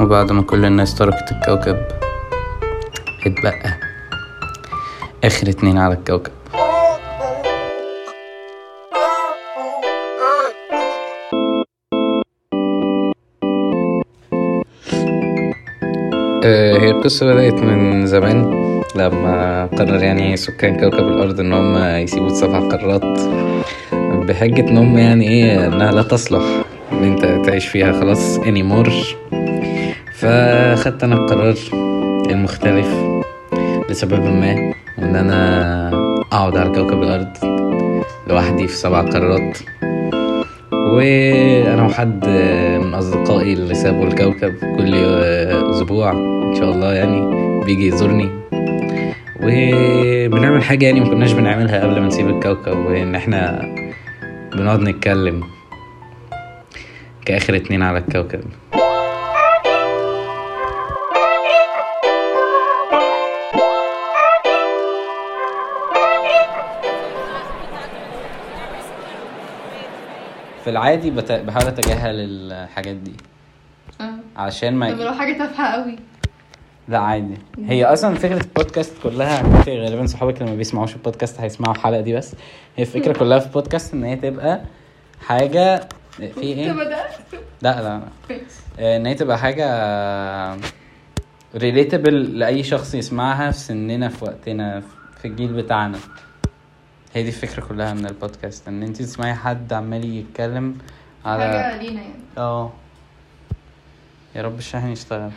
بعد ما كل الناس تركت الكوكب اتبقى آخر اتنين على الكوكب آه، هي القصة بدأت من زمان لما قرر يعني سكان كوكب الأرض إن هم يسيبوا سبع قارات بحجة إن هم يعني إيه إنها لا تصلح إن أنت تعيش فيها خلاص anymore فخدت أنا القرار المختلف لسبب ما إن أنا أقعد على كوكب الأرض لوحدي في سبع قارات وانا وحد من اصدقائي اللي سابوا الكوكب كل اسبوع ان شاء الله يعني بيجي يزورني وبنعمل حاجه يعني ما كناش بنعملها قبل ما نسيب الكوكب وان احنا بنقعد نتكلم كاخر اتنين على الكوكب في العادي بت... بحاول اتجاهل الحاجات دي اه عشان ما طب لو حاجه تافهه قوي لا عادي هي اصلا فكره البودكاست كلها عارف إيه، غالبا صحابك لما بيسمعوش البودكاست هيسمعوا الحلقه دي بس هي الفكره كلها في البودكاست ان هي تبقى حاجه في ايه انت بدات لا لا لا ان هي تبقى حاجه ريليتابل لاي شخص يسمعها في سننا في وقتنا في الجيل بتاعنا هي دي الفكره كلها من البودكاست ان انت تسمعي حد عمال يتكلم على حاجه لينا يعني اه يا رب الشاحن يشتغل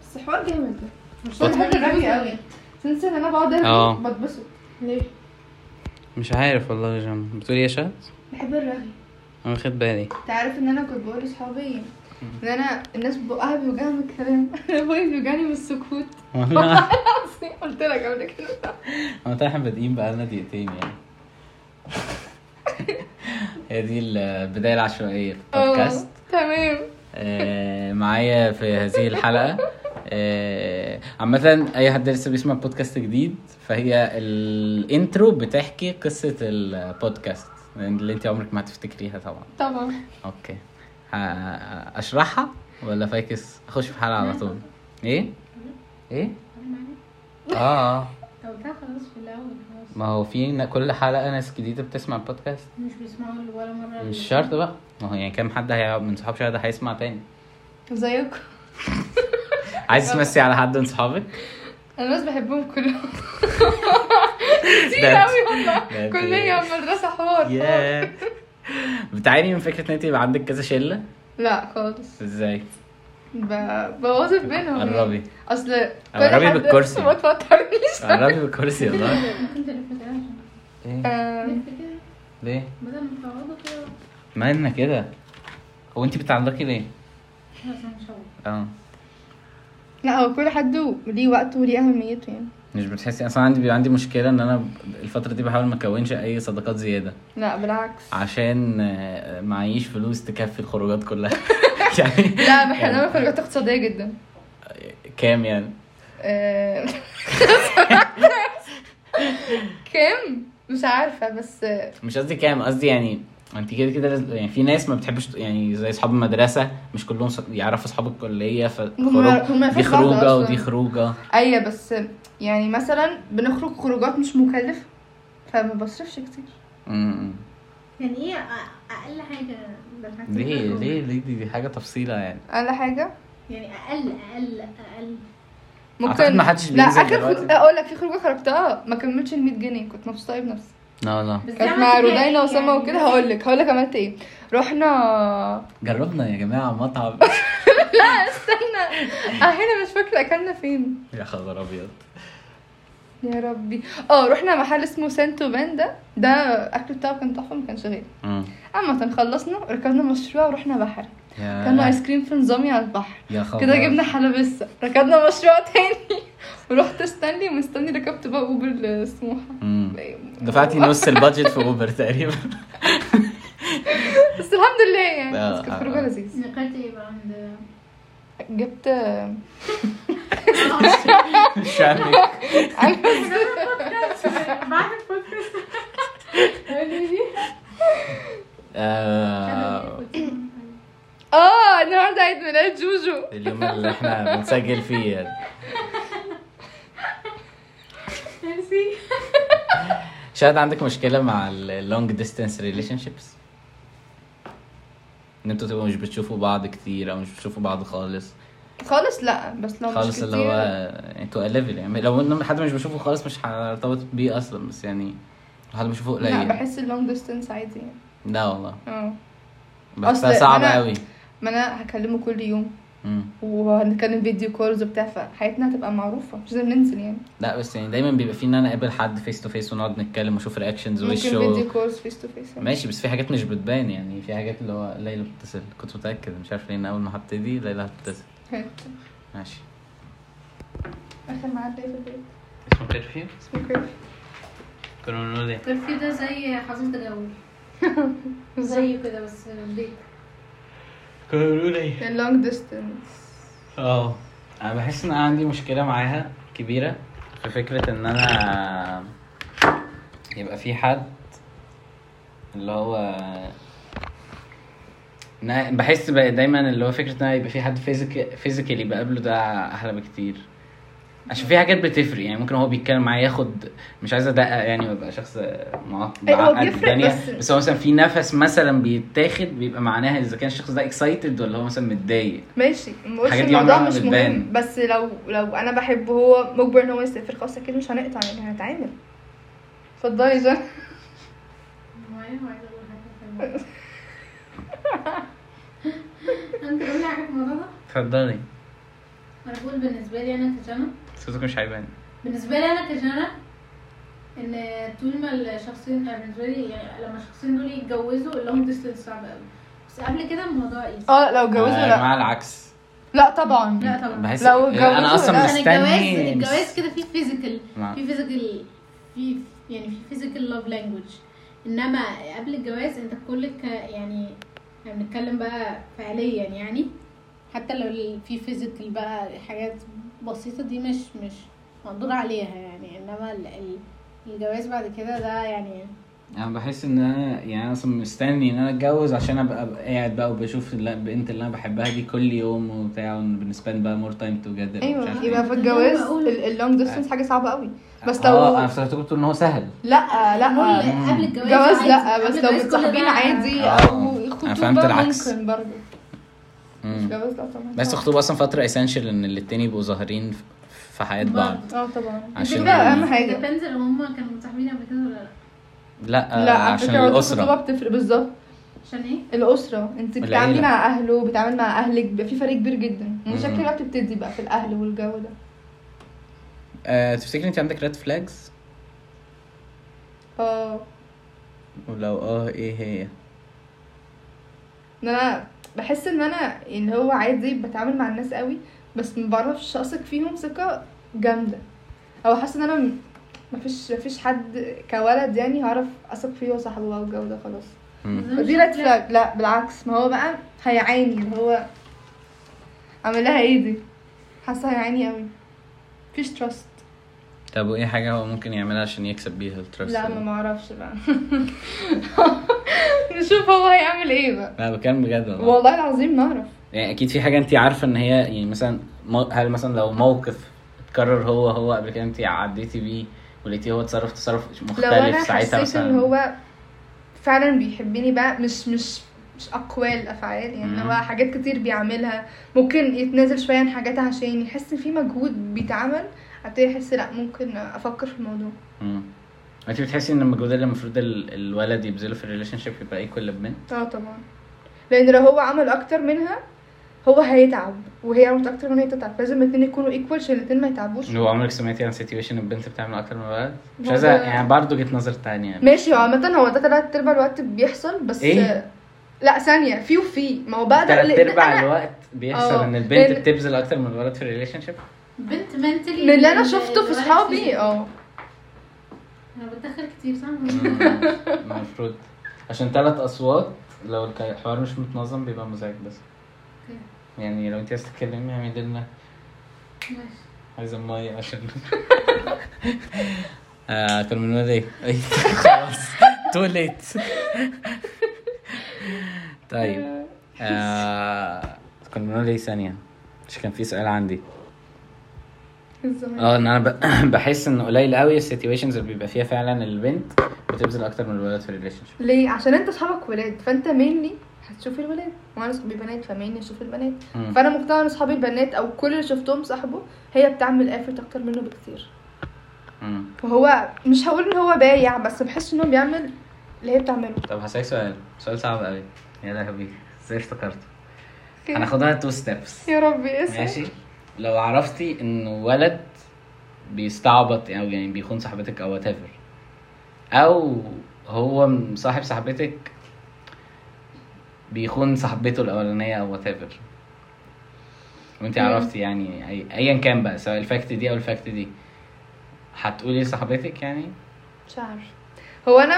بس حوار جامد ده مش بط- انا بحب الرغي قوي سنس ان انا بقعد اه. ارغي بتبسط ليه؟ مش عارف والله يا جم بتقولي ايه يا شهد؟ بحب الرغي انا واخد بالي انت عارف ان انا كنت بقول لاصحابي ان انا الناس بقها بيوجعها من الكلام انا بقولي بيوجعني من السكوت والله قلت لك قبل كده انا احنا بادئين بقالنا دقيقتين يعني هي دي البدايه العشوائيه في البودكاست اه، تمام آه، معايا في هذه الحلقه آه، عامة أي حد لسه بيسمع بودكاست جديد فهي الانترو بتحكي قصة البودكاست اللي أنت عمرك ما هتفتكريها طبعا طبعا أوكي ه- أشرحها ولا فاكس أخش في حلقة على طول إيه؟ إيه؟ آه طب ده خلاص في الاول خلاص ما هو في ن- كل حلقه ناس جديده بتسمع البودكاست مش بيسمعوا ولا مره مش شرط بقى ما هو يعني كام حد هي... من صحاب شهد هيسمع تاني زيكم عايز تمسي على حد من صحابك انا الناس بحبهم كلهم كتير ده- قوي والله ده- كلية ومدرسة حوار حوار. ياه بتعاني من فكره ان انت يبقى عندك كذا شله لا خالص ازاي ب- بوظت بينهم قربي اصل كل قربي حد- بالكرسي. ما توترنيش قربي بالكرسي والله كنت لفت عشان ايه آم، لف كده ليه بدل ما تقعدوا كده مالنا كده هو انت بتعلقي ليه عشان مش هقعد. اه لا هو كل حد ليه وقته وليه اهميته يعني مش بتحسي اصلا عندي بيبقى عندي مشكله ان انا الفتره دي بحاول ما اكونش اي صداقات زياده لا بالعكس عشان آه، معيش فلوس تكفي الخروجات كلها يعني لا احنا بنعمل خروجات اقتصادية جدا كام يعني آه، كام مش عارفة بس آه، مش قصدي كام قصدي يعني انت كده كده لازم- يعني في ناس ما بتحبش يعني زي اصحاب المدرسه مش كلهم ص- يعرفوا اصحاب الكليه هما- فخروج هما دي في بعض خروجه أصلاً. ودي خروجه ايوه بس آه، يعني مثلا بنخرج خروجات مش مكلفة فما بصرفش كتير امم. يعني ايه أ- اقل حاجه بالحاجة ليه ليه ليه دي, دي حاجه تفصيله يعني اقل حاجة يعني اقل اقل اقل أعتقد ما حدش لا بينزل اخر خروج دلوقتي. اقول لك في خروجه خرجتها آه، ما كملتش ال 100 جنيه كنت مبسوطه قوي بنفسي لا لا بس دي كانت عملت مع فيها رودينا إيه وسما يعني؟ وكده هقول لك هقول لك عملت ايه رحنا جربنا يا جماعه مطعم استنى اه هنا مش فاكره اكلنا فين يا خبر ابيض يا ربي اه رحنا محل اسمه سانتو باندا ده الاكل بتاعه كان تحفه ما كانش غالي امم. اما خلصنا ركبنا مشروع ورحنا بحر يا- كان ايس كريم في نظامي على البحر يا خبر كده جبنا حلبسه ركبنا مشروع تاني ورحت استني ومستني ركبت بقى اوبر لسموحه امم. دفعتي نص البادجت في اوبر تقريبا بس الحمد لله يعني آه، بس كانت آه، خروجه آه. لذيذه نقلت ايه بقى عند جبت مش فاهمك بعد الفكرة آه اه النهارده عيد ميلاد جوجو اليوم اللي احنا بنسجل فيه يعني. ميرسي شاهد عندك مشكله مع اللونج ديستانس ريليشن شيبس ان انتوا تبقوا مش بتشوفوا بعض كتير او مش بتشوفوا بعض خالص خالص لا بس لو مش خالص اللي كتير- هو انتوا ليفل يعني لو ان حد مش بشوفه خالص مش هرتبط بيه اصلا بس يعني لو حد بشوفه لا قليل بحس اللونج ديستانس عادي يعني لا والله اه بحسها أصل صعبه أنا- قوي ما انا هكلمه كل يوم مم. وهنتكلم فيديو كولز وبتاع فحياتنا هتبقى معروفه مش لازم ننزل يعني لا بس يعني دايما بيبقى في ان انا اقابل حد فيس تو فيس ونقعد نتكلم واشوف رياكشنز ممكن وشه فيديو كولز فيس تو فيس ماشي بس في حاجات مش بتبان يعني في حاجات اللي هو ليلى بتتصل كنت متاكد مش عارف ليه ان اول ما هبتدي ليلى هتتصل ماشي اخر ميعاد ليا في البيت اسمه كرفيو اسمه كيف كنا بنقول ايه الكرفيو ده زي حظيره تجاوب زيه كده بس بيت كنا بنقول ايه اللونج ديستانس اه انا بحس ان انا عندي مشكله معاها كبيره في فكره ان انا يبقى في حد اللي هو إن أنا بحس بقى دايما اللي هو فكره ان أنا يبقى في حد فيزيك فيزيكالي بقابله ده احلى بكتير عشان في حاجات بتفرق يعني ممكن هو بيتكلم معايا ياخد مش عايز ادقق يعني وابقى شخص معقد أيوة، هو معقد بيفرق الدنيا بس- بس هو مثلا في نفس مثلا بيتاخد بيبقى معناها اذا كان الشخص ده اكسايتد ولا هو مثلا متضايق ماشي ما بقولش الحاجات دي الموضوع عمرها مش ما مهم بتبان. بس لو لو انا بحبه هو مجبر ان هو يسافر خلاص اكيد مش هنقطع يعني هنتعامل اتفضلي يا جان معايا وعايزه اقول حاجه في الموضوع انت تقول لي حاجه في الموضوع ده؟ اتفضلي انا بقول بالنسبه لي انا كجنى صوتك مش عيبان بالنسبه لي انا كجنى ان طول ما الشخصين يعني بالنسبه لي يعني لما الشخصين دول يتجوزوا اللونج ديستنس صعب قوي بس قبل كده الموضوع ايزي اه لو اتجوزوا آه، لا مع العكس لا طبعا لا طبعا بحس لو لا، انا اتجوزوا اصلا لا. عشان الجواز مستني الجواز كده فيه فيزيكال مع- في فيزيكال في يعني في فيزيكال لاف لانجوج انما قبل الجواز انت كلك يعني احنا بنتكلم بقى فعليا يعني حتى لو ال- في فيزيكال بقى حاجات بسيطه دي مش مش مقدور عليها يعني انما ال- ال- الجواز بعد كده ده يعني انا بحس ان انا يعني أنا اصلا مستني ان انا اتجوز عشان ابقى أبقى قاعد بقى وبشوف ال- البنت اللي انا بحبها دي كل يوم وبتاع بنسبان بقى مور تايم توجذر ايوه يبقى إيه. في الجواز اللونج ديستنس حاجه صعبه قوي بس اه انا لو افتكرت بتقول ان هو سهل لا لا نقول قبل الجواز جواز عادي. لا قبل بس لو الجواز كل ده متصاحبين عادي آه. او أنا فهمت خطوبه العكس. ممكن برضه مم. جواز لا آه. طبعا بس الخطوبه اصلا فتره اسينشال ان الاتنين يبقوا ظاهرين في- في حياه بعض اه طبعا عشان- الفكرة اهم حاجه ديبيندز لو هما كانوا متصاحبين قبل كده ولا لا لا, لا آه، على عشان فكره الخطوبه الاسره بتفرق بالظبط عشان ايه؟ الاسره انت والعيلة. بتتعاملي مع اهله بتتعاملي مع اهلك بيبقى في فرق كبير جدا المشاكل مم. بقى بتبتدي بقى في الاهل والجو ده أه تفتكري انت عندك ريد فلاجز اه ولو اه ايه هي ان انا بحس ان انا اللي هو عادي بتعامل مع الناس قوي بس ما بعرفش اثق فيهم ثقه جامده او حاسه ان انا م- مفيش مفيش حد كولد يعني هعرف اثق فيه وصاحبه بقى والجو ده خلاص دي ريد فلاج لا بالعكس ما هو بقى هيعاني اللي هو اعمل لها ايه دي حاسه هيعاني قوي مفيش تراست طب وايه حاجه هو ممكن يعملها عشان يكسب بيها التراست لا ما معرفش بقى نشوف هو هيعمل ايه بقى لا بكلم بجد والله والله العظيم ما اعرف يعني اكيد في حاجه انت عارفه ان هي يعني مثلا مو- هل مثلا لو موقف اتكرر هو هو قبل كده انت عديتي بيه ولقيتيه هو تصرف تصرف لو انا مختلف ساعتها حسيت ان مثلا هو فعلا بيحبني بقى مش مش مش اقوال افعال يعني مم. هو حاجات كتير بيعملها ممكن يتنازل شويه عن حاجات عشان يحس ان في مجهود بيتعمل ابتدي احس لا ممكن افكر في الموضوع مم. انت بتحسي ان المجهود اللي المفروض ال- الولد يبذله في الريليشن شيب يبقى ايكوال للبنت اه طبعا لان لو هو عمل اكتر منها هو هيتعب وهي عملت اكتر منها هي تتعب لازم الاتنين يكونوا ايكوال عشان الاتنين ما يتعبوش هو عمرك سمعتي عن سيتويشن البنت بتعمل اكتر من الولد مش هو عايزه ده- يعني برضه وجهه نظر تانية يعني ماشي هو عامة هو ده تلات ارباع الوقت بيحصل بس إيه؟ لا ثانية في وفي ما هو بقى ده تلات يعني. لأن ارباع أنا- الوقت بيحصل آه. ان البنت لأن- بتبذل اكتر من الولد في الريليشن شيب بنت منتلي من اللي انا شفته في صحابي اه انا بتدخل كتير صح؟ المفروض عشان ثلاث اصوات لو الك- الحوار مش متنظم بيبقى مزعج بس أوكي. يعني لو انت عايز تتكلمي اعملي لنا ماشي عايزه ميه عشان آه كنا بنقول ايه؟ خلاص تو ليت طيب آه... كنا بنقول ايه ثانية مش كان في سؤال عندي الزمان اه ان انا ب- بحس ان قليل قوي السيتويشنز اللي بيبقى فيها فعلا البنت بتبذل اكتر من الولد في الريليشن شيب ليه عشان انت اصحابك ولاد فانت مينلي هتشوف الولاد وانا صحابي بنات فمينلي اشوف البنات فانا مقتنعه ان اصحابي البنات او كل اللي شفتهم صاحبه هي بتعمل افورت اكتر منه بكتير فهو مش هقول ان هو بايع بس بحس ان هو بيعمل اللي هي بتعمله طب هسألك سؤال سؤال صعب قوي يا لهوي ازاي افتكرته هناخدها تو ستيبس يا ربي اسف ماشي لو عرفتي ان ولد بيستعبط او يعني بيخون صاحبتك او whatever او هو صاحب صاحبتك بيخون صاحبته الاولانيه او whatever وانت مم. عرفتي يعني أي- ايا كان بقى سواء الفاكت دي او الفاكت دي هتقولي لصاحبتك يعني مش عارف هو انا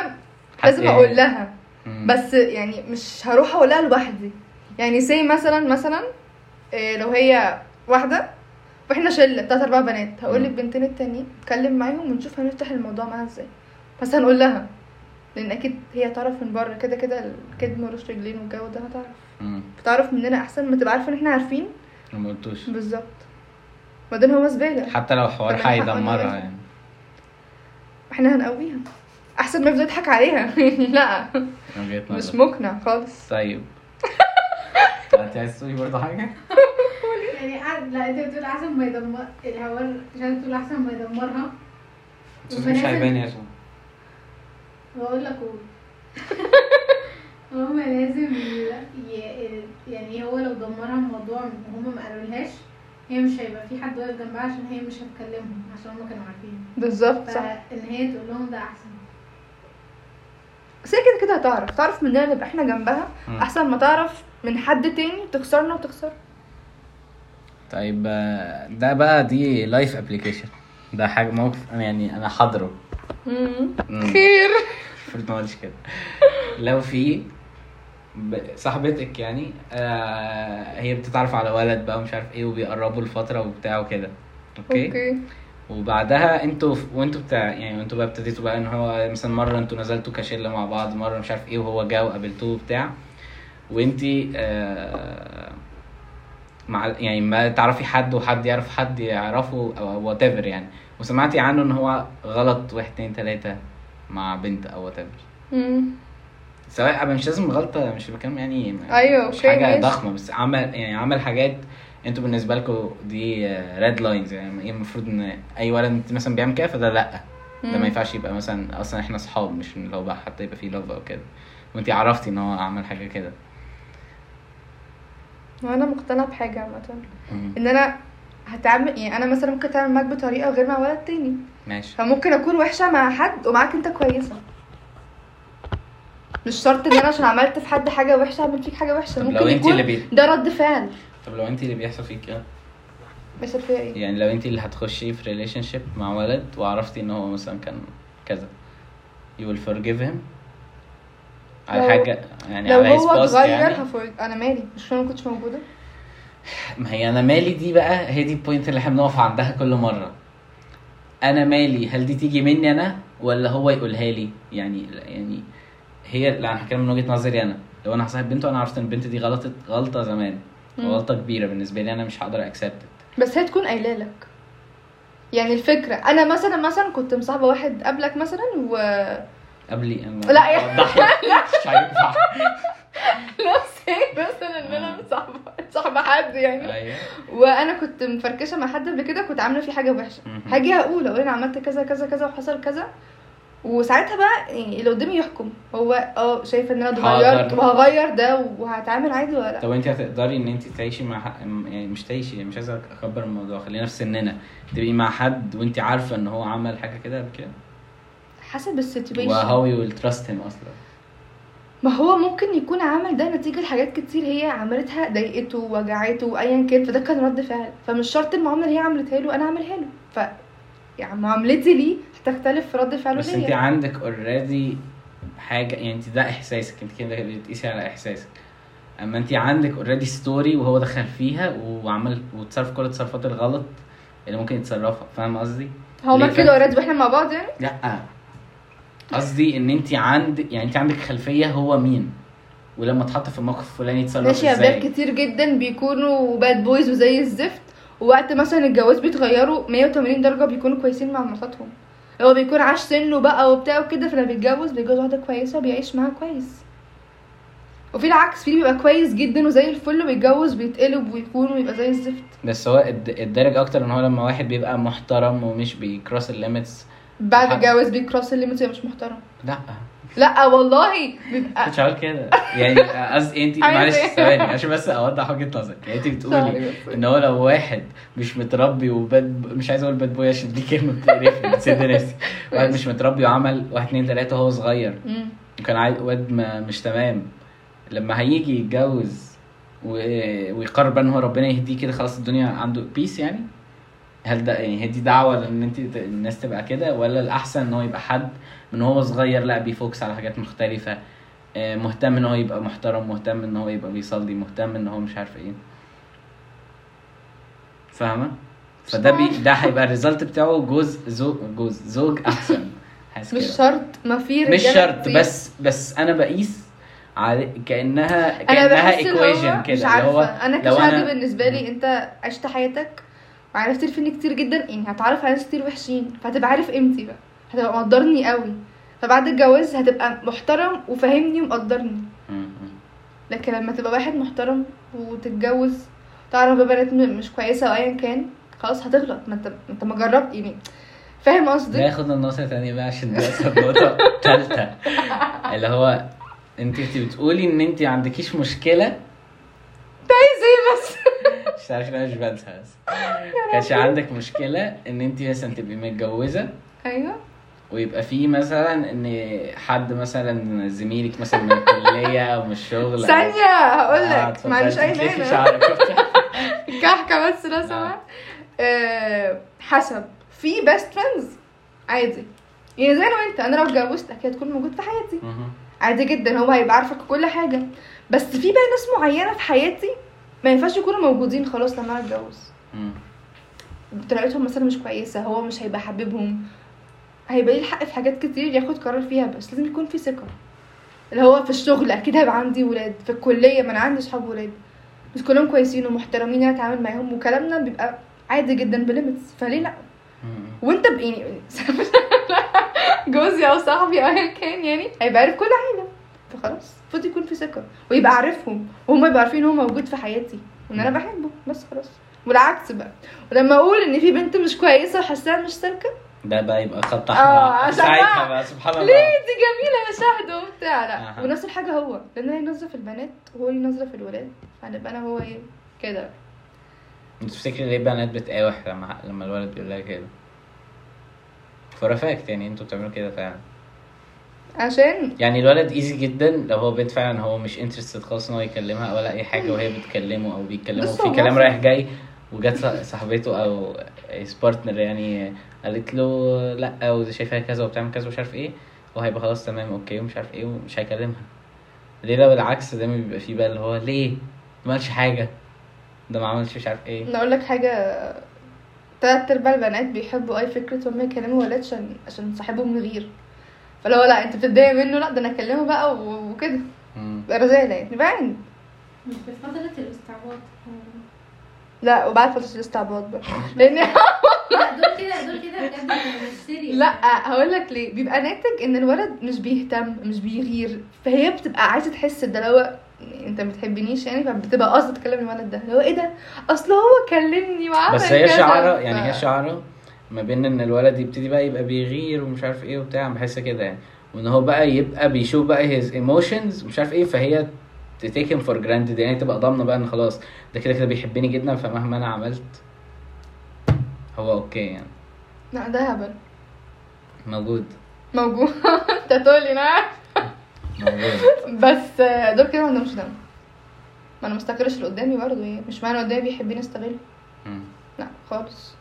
حت- لازم يعني- اقول لها مم. بس يعني مش هروح اقولها لوحدي يعني سي مثلا مثلا إيه، لو هي واحده واحنا شله تلات اربع بنات هقول مم. للبنتين التانيين اتكلم معاهم ونشوف هنفتح الموضوع معاها ازاي بس هنقول لها لان اكيد هي تعرف من بره كده كده الكد ملوش رجلين والجو ده هتعرف مم. تعرف مننا احسن ما تبقى عارفه ان احنا عارفين ما قلتوش بالظبط بعدين هو زباله حتى لو حوار فأنا هقول هيدمرها لها. يعني احنا هنقويها احسن ما يفضل يضحك عليها لا من وجهة مش نظري. مقنع خالص طيب انت عايز تقولي برضه حاجه يعني قاعد لا انت بتقول احسن ما يدمر الهوار مش عايز تقول احسن ما يدمرها صوتك مش عجباني يا شباب بقول لك قول هما لازم ي... ي... يعني هو لو دمرها الموضوع وهما ما قالولهاش هي مش هيبقى في حد واقف جنبها عشان هي مش هتكلمهم عشان هما كانوا عارفين بالظبط صح فان هي تقول لهم ده احسن بس هي كده كده هتعرف تعرف مننا نبقى احنا جنبها مم. احسن ما تعرف من حد تاني تخسرنا وتخسر طيب آه، ده بقى دي لايف ابلكيشن ده حاجه موقف أنا يعني انا حاضره مم. خير المفروض ما اقولش كده لو في ب- صاحبتك يعني آه هي بتتعرف على ولد بقى ومش عارف ايه وبيقربوا لفتره وبتاع وكده اوكي, أوكي. اوكي وبعدها انتوا ف- وانتوا بتاع يعني وانتوا بقى ابتديتوا بقى ان هو مثلا مره انتوا نزلتوا كشله مع بعض مره مش عارف ايه وهو جه وقابلتوه وبتاع وانتي آه مع يعني ما تعرفي حد وحد يعرف حد يعرفه او وات ايفر يعني وسمعتي عنه ان هو غلط واحد اتنين تلاته مع بنت او وات ايفر مم. سواء أنا مش لازم غلطه مش بكلم يعني أيوة، مش أوكي، حاجه ماشي. ضخمه بس عمل يعني عمل حاجات انتوا بالنسبه لكم دي ريد لاينز يعني ايه المفروض ان اي ولد مثلا بيعمل كده فده لا ده مم. ما ينفعش يبقى مثلا اصلا احنا اصحاب مش اللي هو بقى حتى يبقى فيه لاف او كده وانت عرفتي ان هو عمل حاجه كده وانا مقتنعه بحاجه عامه ان انا هتعامل يعني انا مثلا ممكن اتعامل معاك بطريقه غير مع ولد تاني ماشي فممكن اكون وحشه مع حد ومعاك انت كويسه مش شرط ان انا عشان عملت في حد حاجه وحشه اعمل فيك حاجه وحشه طب ممكن لو انت يكون اللي بي... ده رد فعل طب لو انت اللي بيحصل فيك كده مش فيها ايه يعني لو انت اللي هتخشي في ريليشن شيب مع ولد وعرفتي ان هو مثلا كان كذا you will forgive him على لو- حاجه يعني لو على his هو past اتغير يعني. هفرج انا مالي مش انا ما كنتش موجوده ما هي انا مالي دي بقى هي دي البوينت اللي احنا بنقف عندها كل مره انا مالي هل دي تيجي مني انا ولا هو يقولها لي يعني يعني هي لا انا هتكلم من وجهه نظري انا لو انا هصاحب بنت وانا عرفت ان البنت دي غلطت غلطه زمان مم. غلطه كبيره بالنسبه لي انا مش هقدر اكسبت بس هي تكون قايله لك يعني الفكره انا مثلا مثلا كنت مصاحبه واحد قبلك مثلا و قبلي انا لا، يا- أوضح لك. مش هينفع نفسي مثلا ان انا آه. مصاحبه مصاحبه حد يعني أيوة. وانا كنت مفركشه مع حد قبل كده كنت عامله فيه حاجه وحشه مهم. هاجي هقول اقول انا عملت كذا كذا كذا وحصل كذا وساعتها بقى يعني اللي قدامي يحكم هو اه شايف ان انا اتغيرت حاضر. وهغير ده وهتعامل عادي ولا لا طب انت هتقدري ان انت تعيشي مع حق... يعني مش تعيشي يعني مش عايزه اكبر الموضوع خلينا في سننا تبقي مع حد وانت عارفه ان هو عمل حاجه كده قبل كده حسب السيتويشن وهاو يو ويل تراست هيم اصلا ما هو ممكن يكون عمل ده نتيجه لحاجات كتير هي عملتها ضايقته وجعته ايا كان فده كان رد فعل فمش شرط المعامله اللي هي عملتها له انا اعملها له ف يعني معاملتي ليه هتختلف في رد فعله بس انت ليا عندك اوريدي حاجه يعني انت ده احساسك انت كده بتقيسي على احساسك اما انت عندك اوريدي ستوري وهو دخل فيها وعمل وتصرف كل التصرفات الغلط اللي ممكن يتصرفها فاهم قصدي؟ هو ليه مال كده فعل؟ اوريدي واحنا مع بعض يعني لا قصدي ان انت عندك يعني انت عندك خلفيه هو مين ولما اتحط في الموقف الفلاني يتصرف ماشي ازاي يا بنات كتير جدا بيكونوا باد بويز وزي الزفت ووقت مثلا الجواز بيتغيروا 180 درجه بيكونوا كويسين مع مراتهم هو بيكون عاش سنه بقى وبتاع وكده فلما بيتجوز بيتجوز واحده كويسه بيعيش معاها كويس وفي العكس في اللي بيبقى كويس جدا وزي الفل وبيتجوز بيتقلب ويكون ويبقى زي الزفت بس هو الد- الدارج اكتر ان هو لما واحد بيبقى محترم ومش بيكروس الليميتس بعد حق. الجواز بيكروس الليميت مش محترم لا لا والله بيبقى كنتش هقول كده يعني قصدي انت عايزة معلش ايه؟ ثواني عشان بس اوضح وجهه نظرك يعني انت بتقولي ان هو لو واحد مش متربي وباد مش عايز اقول باد بوي عشان دي كلمه بتقرفني بتسد نفسي واحد مش متربي وعمل واحد اتنين تلاته وهو صغير مم. وكان عايز واد ما مش تمام لما هيجي يتجوز و... ويقرر بقى ان هو ربنا يهديه كده خلاص الدنيا عنده بيس يعني هل ده يعني هي دي دعوه لان انت ت- الناس تبقى كده ولا الاحسن ان هو يبقى حد من هو صغير لا بيفوكس على حاجات مختلفه آه، مهتم ان هو يبقى محترم مهتم ان هو يبقى بيصلي مهتم ان هو مش عارف ايه فاهمه فده بي... ده هيبقى الريزلت بتاعه جوز زوج جوز زوج احسن حاسس مش كده. شرط ما في مش رجالة شرط كتير. بس بس انا بقيس على كانها انا كانها بحس اللي ايكويشن هو كده مش اللي هو عارفه انا لو كشعب أنا- بالنسبه لي انت عشت حياتك وعرفت الفن كتير جدا يعني هتعرف على ناس كتير وحشين فهتبقى عارف قيمتي بقى هتبقى مقدرني قوي فبعد الجواز هتبقى محترم وفاهمني ومقدرني مم، مم. لكن لما تبقى واحد محترم وتتجوز تعرف بقى بنات م- مش كويسه او ايا كان خلاص هتغلط ما انت ما انت ما جربت يعني فاهم ده قصدي ياخدنا لنقطة تانية بقى عشان نوصل نقطة تالتة اللي هو انت انت بتقولي ان انت ما عندكيش مشكلة عايز ايه بس مش عارف انا مش بنسى بس كانش عندك مشكلة ان انت مثلا تبقي متجوزة ايوه ويبقى في مثلا ان حد مثلا زميلك مثلا من الكلية او من الشغل أو- ثانيه هقول آه، لك اتفضلي، معلش اي تلفي مانع شعرك. كحكه بس لو آه. سمحت آه، حسب في بيست فريندز عادي يعني زي انا وانت انا لو اتجوزتك هتكون موجود في حياتي مهم. عادي جدا هو هيبقى عارفك كل حاجه بس في بقى ناس معينه في حياتي ما ينفعش يكونوا موجودين خلاص لما انا اتجوز مم. طريقتهم مثلا مش كويسه هو مش هيبقى حبيبهم هيبقى ليه الحق في حاجات كتير ياخد قرار فيها بس لازم يكون في ثقه اللي هو في الشغل اكيد هيبقى عندي ولاد في الكليه ما انا عندي اصحاب ولاد بس كلهم كويسين ومحترمين انا اتعامل معاهم وكلامنا بيبقى عادي جدا بليمتس فليه لا مم. وانت ب- يعني جوزي او صاحبي او ايا كان يعني هيبقى عارف كل حاجه فخلاص المفروض يكون في ثقه ويبقى عارفهم وهم يبقوا عارفين ان هو موجود في حياتي وان انا بحبه بس خلاص والعكس بقى ولما اقول ان في بنت مش كويسه وحاساها مش سالكه ده بقى يبقى خط آه، احمر عشان ساعتها بقى- بقى سبحان الله ليه دي جميله يا شهد وبتاع لا أها. ونفس الحاجه هو لان هي نظره في البنات وهو ليه نظره في الولاد فهنبقى انا هو ايه كده انت تفتكري ليه بنات بتقاوح لما لما الولد بيقول لها كده فور فاكت يعني انتوا بتعملوا كده فعلا عشان يعني الولد ايزي جدا لو هو بنت فعلا هو مش انترستد خالص ان هو يكلمها ولا اي حاجه وهي بتكلمه او بيتكلموا بص في هو كلام معظم- رايح جاي وجت ص- صاحبته او his partner يعني قالت له لا وشايفاها كذا وبتعمل كذا ومش عارف ايه وهيبقى خلاص تمام اوكي ومش عارف ايه ومش هيكلمها ليه لو العكس دايما بيبقى فيه بقى اللي هو ليه ما عملش حاجه ده ما عملش مش عارف ايه أنا اقول لك حاجه تلات ارباع البنات بيحبوا اي فكره هم يكلموا ولاد عشان عشان صاحبهم يغير فلو لا انت بتتضايق منه لا ده انا اكلمه بقى و- وكده مم. بقى رزاله يعني بعدين مش بفترة الاستعباط لا وبعد فتره الاستعباط بقى لان لا دول كده دول كده بجد مش serious. لا هقول لك ليه بيبقى ناتج ان الولد مش بيهتم مش بيغير فهي بتبقى عايزه تحس ده لو انت ما بتحبنيش يعني فبتبقى قصدي تكلم الولد ده اللي هو ايه ده اصل هو كلمني وعمل بس هي كذا. شعره ف- يعني هي شعره ما بين ان الولد يبتدي بقى يبقى بيغير ومش عارف ايه وبتاع بحس كده يعني وان هو بقى يبقى بيشوف بقى his emotions ومش عارف ايه فهي تتيكن فور جراندد يعني تبقى ضامنه بقى ان خلاص ده كده كده بيحبني جدا فمهما انا عملت هو اوكي يعني لا ده هبل موجود موجود انت تقول لي نعم موجود بس آه، دول كده ما عندهمش دم ما انا مستقرش اللي قدامي برضه يعني مش معنى قدامي بيحبني استغله مم. لا خالص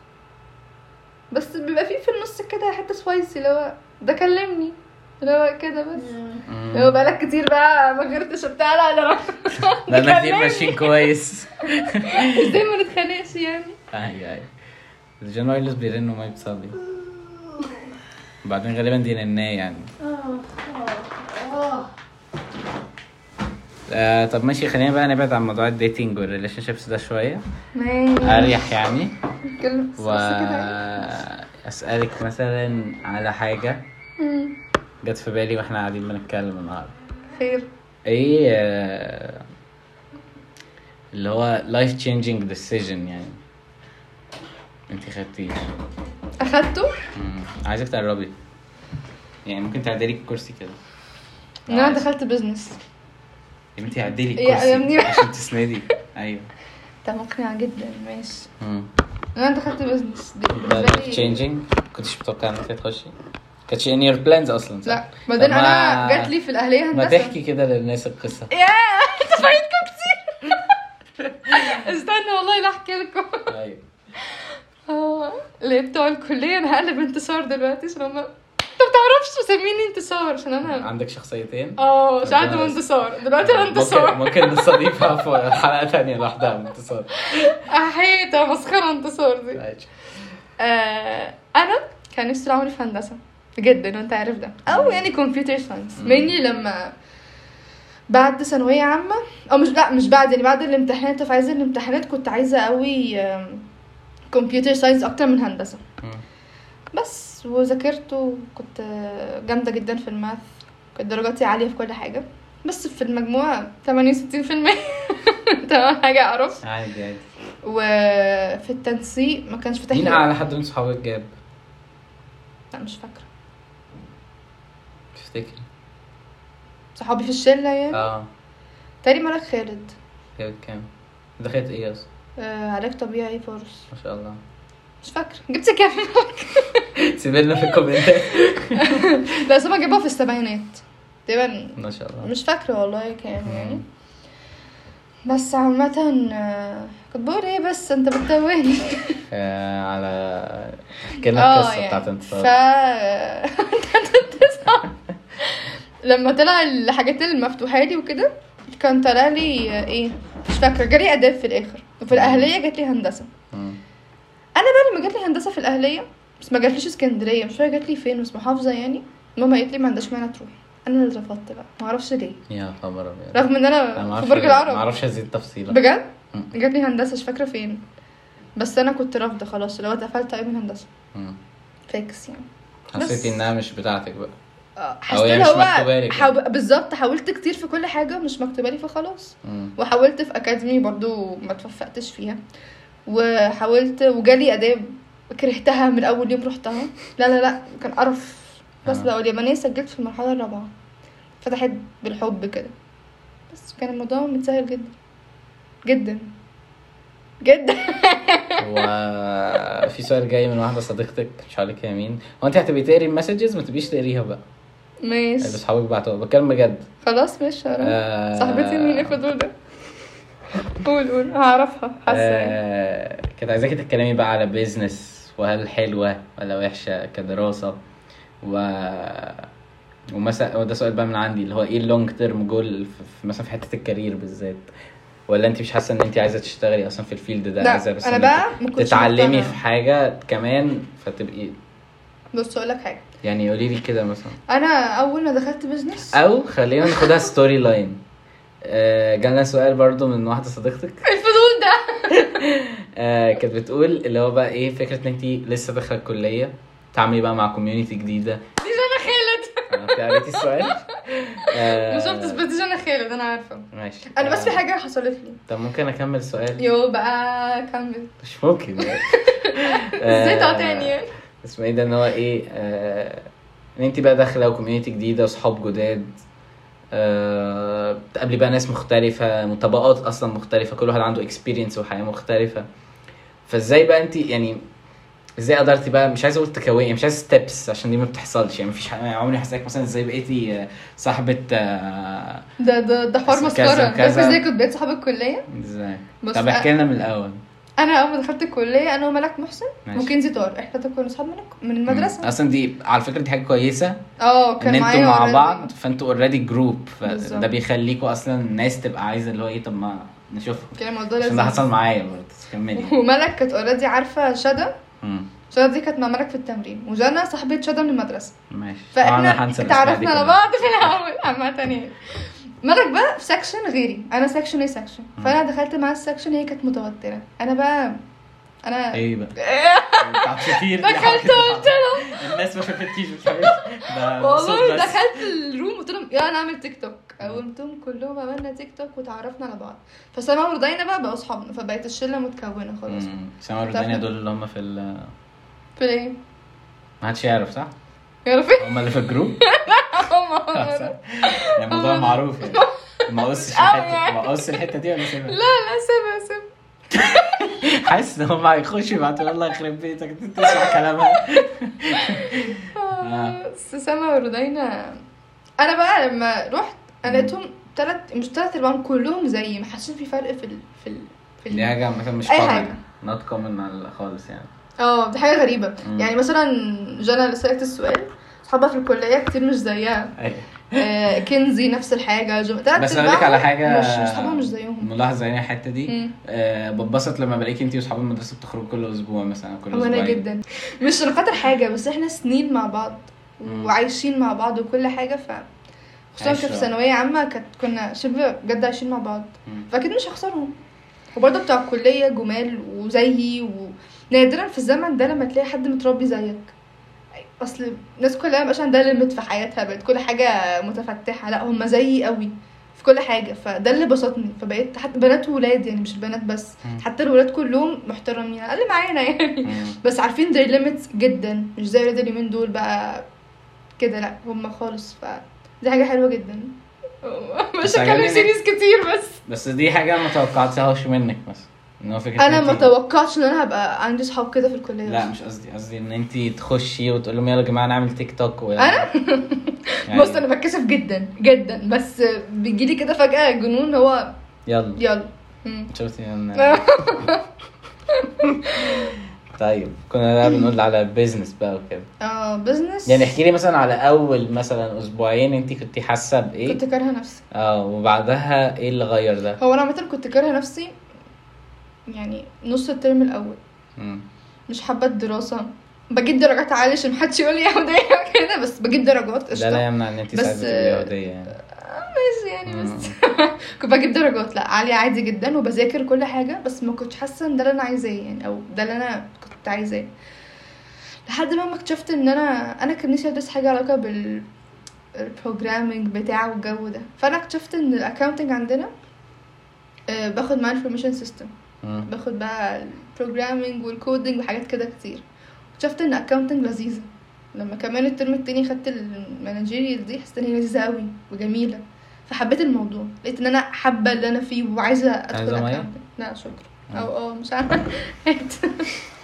بس بيبقى فيه في النص كده حته سبايسي اللي هو ده كلمني اللي هو كده بس مم. اللي هو بقالك كتير بقى ما غيرتش وبتاع لا ده أنا- لا انا كتير كلمني. ماشيين كويس ازاي ما نتخانقش يعني ايوه ايوه الجن وايلس بيرن وما بيتصلي وبعدين غالبا دي نناه يعني آه، آه، آه. آه طب ماشي خلينا بقى نبعد عن موضوع الديتنج والريليشن شيبس ده شويه ماشي اريح يعني كلمة بس و كده اسالك مثلا على حاجه مم. جت في بالي واحنا قاعدين بنتكلم النهارده خير ايه آه، اللي هو life changing decision يعني انت خدتيه اخدته مم. عايزك تقربي يعني ممكن تعدلي الكرسي كده ان انا دخلت بزنس يا بنتي عدلي يا- الكرسي يا ابني. عشان تسندي ايوه ده مقنع جدا ماشي مم. ان انا دخلت بزنس دي ده بالنسبة life لي- changing كنتش متوقع انك هتخشي كانتش in your plans اصلا صح؟ لا بعدين طب ما- انا جات لي في الاهليه ما هندسه تحكي كده للناس القصه يا انت فايتكم كتير استنى والله لا احكي لكم ايوه اه اللي بتوع الكليه انا هقلب انتصار دلوقتي عشان هم انت ما بتعرفش مسميني انتصار عشان انا عندك شخصيتين اه مش ربنا عارفه يستر. انتصار دلوقتي انا ممكن انتصار ممكن نستضيفها في حلقه ثانيه لوحدها انتصار طيب. احييتها مسخره انتصار دي ماشي. آه انا كان نفسي طول عمري في هندسه جدا وانت عارف ده او يعني كمبيوتر ساينس مم. مني لما بعد ثانويه عامه او مش لا مش بعد يعني بعد الامتحانات في عايزه الامتحانات كنت عايزه قوي كمبيوتر ساينس اكتر من هندسه مم. بس وذاكرت وكنت آه، جامده جدا في الماث كانت درجاتي عاليه في كل حاجه بس في المجموعه 68% تمام حاجه اعرف عادي عادي وفي التنسيق ما كانش فاتح مين لي- اعلى حد من صحابك جاب لا مش فاكره تفتكري صحابي في الشله يعني اه تاني مالك خالد جابت كام دخلت ايه اصلا آه علاج طبيعي فورس ما شاء الله مش فاكره جبت كام سيبلنا في الكومنتات لا بس انا جايبها في السبعينات تقريبا ما شاء الله مش فاكره والله كام يعني مم. بس عامة آه، كنت بقول ايه بس انت بتتوهني آه على احكي لنا اه القصه يعني. بتاعت ف انتصار لما طلع الحاجات المفتوحه لي وكده كان طلع لي آه، ايه مش فاكره جالي اداب في الاخر وفي الاهليه جات لي هندسه مم. انا بقى لما جات لي هندسه في الاهليه بس ما جاتليش اسكندريه مش فاكره جات لي فين بس محافظه يعني ماما قالت لي ما عندهاش مانع تروحي انا اللي رفضت بقى ما اعرفش ليه يا خبر ابيض رغم ان انا ما انا في اعرفش برج ما العرب اعرفش ازيد تفصيلا بجد مم. جات لي هندسه مش فاكره فين بس انا كنت رافضه خلاص اللي هو اتقفلت قوي من هندسه مم. فاكس يعني بس. حسيتي انها مش بتاعتك بقى آه، أو حسيت هي اللي مش هو مكتوبة لك حاو... بالظبط حاولت كتير في كل حاجه مش مكتوبه لي فخلاص مم. وحاولت في اكاديمي برضو ما توفقتش فيها وحاولت وجالي اداب كرهتها من اول يوم رحتها لا لا لا كان قرف بس آه. لو اليابانيه سجلت في المرحله الرابعه فتحت بالحب كده بس كان الموضوع متسهل جدا جدا جدا وفي سؤال جاي من واحده صديقتك مش هقول لك هي مين هو انت هتبقي تقري المسجز ما تبقيش تقريها بقى اللي ماشي اصحابك بعتوها بتكلم بجد خلاص ماشي هروح. آه، صاحبتي مين الفضول ده قول قول هعرفها حاسه يعني. آه، كنت عايزاكي تتكلمي بقى على بيزنس وهل حلوه ولا وحشه كدراسه و ومثلا وده سؤال بقى من عندي اللي هو ايه اللونج تيرم جول مثلا في حته الكارير بالذات ولا انت مش حاسه ان انت عايزه تشتغلي اصلا في الفيلد ده لا، عايزه بس أنا إنك بقى ما كنتش تتعلمي مقتنعة. في حاجه كمان فتبقي بص اقول لك حاجه يعني قولي لي كده مثلا انا اول ما دخلت بزنس او خلينا ناخدها ستوري لاين آه، جالنا سؤال برضو من واحده صديقتك الفضول ده آه كانت بتقول اللي هو بقى ايه فكره ان انت لسه داخله الكليه تعملي بقى مع كوميونتي جديده دي جانا خالد آه، انت قريتي السؤال آه ما شفتش بس دي جانا خالد انا عارفه ماشي انا بس في آه، حاجه حصلت لي طب ممكن اكمل سؤال يو بقى كمل مش ممكن يعني. آه، ازاي تقاطعني يعني؟ اسمه ايه ده ان هو ايه آه ان انت بقى داخله وكوميونتي جديده اصحاب جداد آه بتقابلي بقى ناس مختلفه من طبقات اصلا مختلفه كل واحد عنده اكسبيرينس وحياه مختلفه فازاي بقى انت يعني ازاي قدرتي بقى مش عايز اقول تكوية مش عايز ستيبس عشان دي ما بتحصلش يعني مفيش حاجة- يعني عمري هسألك مثلا ازاي بقيتي آه، صاحبه آه، ده ده ده حوار كذا مسخره وكذا. بس ازاي كنت بقيت صحاب الكليه ازاي بص طب احكي لنا من الاول انا اول ما دخلت الكليه انا وملك محسن ماشي. وكنزي طار احنا كنا اصحاب من من مم. المدرسه اصلا دي على فكره دي حاجه كويسه اه ان كان انتوا معايا مع already. بعض فانتوا اوريدي جروب بالظبط. فده بيخليكوا اصلا الناس تبقى عايزه اللي هو ايه طب ما نشوفهم كان الموضوع عشان ده لذيذ حصل معايا برضه كملي وملك كانت اوريدي عارفه شدا مم. شدا دي كانت مع ملك في التمرين وجانا صاحبه شدا من المدرسه ماشي طبعاً أنا فاحنا هنسى الأسماء دي اتعرفنا على كلها. بعض في الاول عامه يعني مرك بقى في سكشن غيري انا سكشن ايه سكشن فانا دخلت مع السكشن هي كانت متوتره انا بقى انا إيه؟ ايه بقى بتاع كتير دخلت قلت لهم الناس ما شافتكيش مش عارف ده والله صوت بس. دخلت الروم قلت لهم يلا نعمل تيك توك قومتهم كلهم عملنا تيك توك وتعرفنا على بعض فسامع ورضينا بقى بقوا اصحابنا فبقت الشله متكونه خلاص مم. سامر والدنيا دول اللي هم في ال في ايه ما حدش يعرف صح؟ يا رفيق هم اللي في الجروب صح؟ يعني الموضوع معروف يعني ما قصش أوي الحته يعني. ما قصش الحته دي ولا سيبها لا لا سيبها سيبها حاسس ان هم هيخشوا يبعتوا الله يخرب بيتك انت تسمع كلامها آه. آه، سما وردينا انا بقى لما رحت انا لقيتهم تلات مش تلات ارباعهم كلهم زيي ما حسيتش في فرق في ال... في ال... في دي ال... يعني حاجة مثلا مش أي حاجة. نوت كومن خالص يعني اه دي حاجه غريبه مم. يعني مثلا جانا اللي سالت السؤال اصحابها في الكليه كتير مش زيها أيوة. آه، كنزي نفس الحاجه جم... تلات بس أقول لك على أرباعهم حاجة- مش مش اصحابها مش زيهم ملاحظة يعني الحتة دي مم. أه بتبسط لما بلاقيك انتي واصحاب المدرسة بتخرجوا كل أسبوع مثلا أو كل وانا أسبوعين جدا مش عشان خاطر حاجه بس احنا سنين مع بعض مم. وعايشين مع بعض وكل حاجه ف خصوصا عايشة. في ثانويه عامه كانت كنا شبه بجد عايشين مع بعض مم. فاكيد مش هخسرهم وبرضه بتوع الكليه جمال وزيي و... نادرا في الزمن ده لما تلاقي حد متربي زيك اصل الناس كلها مبقاش عندها ليميت في حياتها بقت كل حاجه متفتحه لا هم زيي قوي في كل حاجه فده اللي بسطني فبقيت حتى بنات وولاد يعني مش البنات بس مم. حتى الولاد كلهم محترمين على الاقل معانا يعني مم. بس عارفين their limits جدا مش زي ولاد اليومين دول بقى كده لا هم خالص ف دي حاجة حلوة جدا مش هتكلم عجبني إنك- سيريس كتير بس بس دي حاجة ما توقعتهاش منك مثلا ان هو فكرة انا إن ما إنتي- توقعتش ان انا هبقى عندي صحاب كده في الكلية لا مش قصدي قصدي ان انتي تخشي وتقول لهم يلا يا جماعة نعمل تيك توك و... أنا؟ يعني بص انا بتكسف جدا جدا بس بيجيلي كده فجأة جنون هو يلا يلا مم. شفتي ان طيب كنا بقى بنقول على بيزنس بقى وكده اه بزنس يعني احكي لي مثلا على اول مثلا اسبوعين انت كنت حاسه بايه كنت كارهة نفسي اه وبعدها ايه اللي غير ده هو انا عامة كنت كارهة نفسي يعني نص الترم الاول مم. مش حابة الدراسة بجيب درجات عالية عشان محدش يقول لي يهودية وكده بس بجيب درجات ده قشطة لا يمنع ان انت بس- آه، ساعات بتبقي يهوديه يعني بس يعني بس كنت بجيب درجات لا عالية عادي جدا وبذاكر كل حاجة بس ما كنتش حاسة ان ده اللي انا عايزاه يعني او ده اللي انا كنت عايزاه لحد ما ما اكتشفت ان انا انا كان نفسي ادرس حاجة علاقة بال البروجرامينج بتاعه والجو ده فانا اكتشفت ان الاكاونتنج عندنا آه، باخد معاه انفورميشن سيستم مم. باخد بقى البروجرامينج والكودينج وحاجات كده كتير اكتشفت ان اكاونتنج لذيذه لما كمان الترم التاني خدت المانجيريال دي حسيت ان هي لذيذه قوي وجميله فحبيت الموضوع لقيت ان انا حابه اللي انا فيه وعايزه ادخل عايزة مية؟ accounting. لا شكرا او اه مش عارفه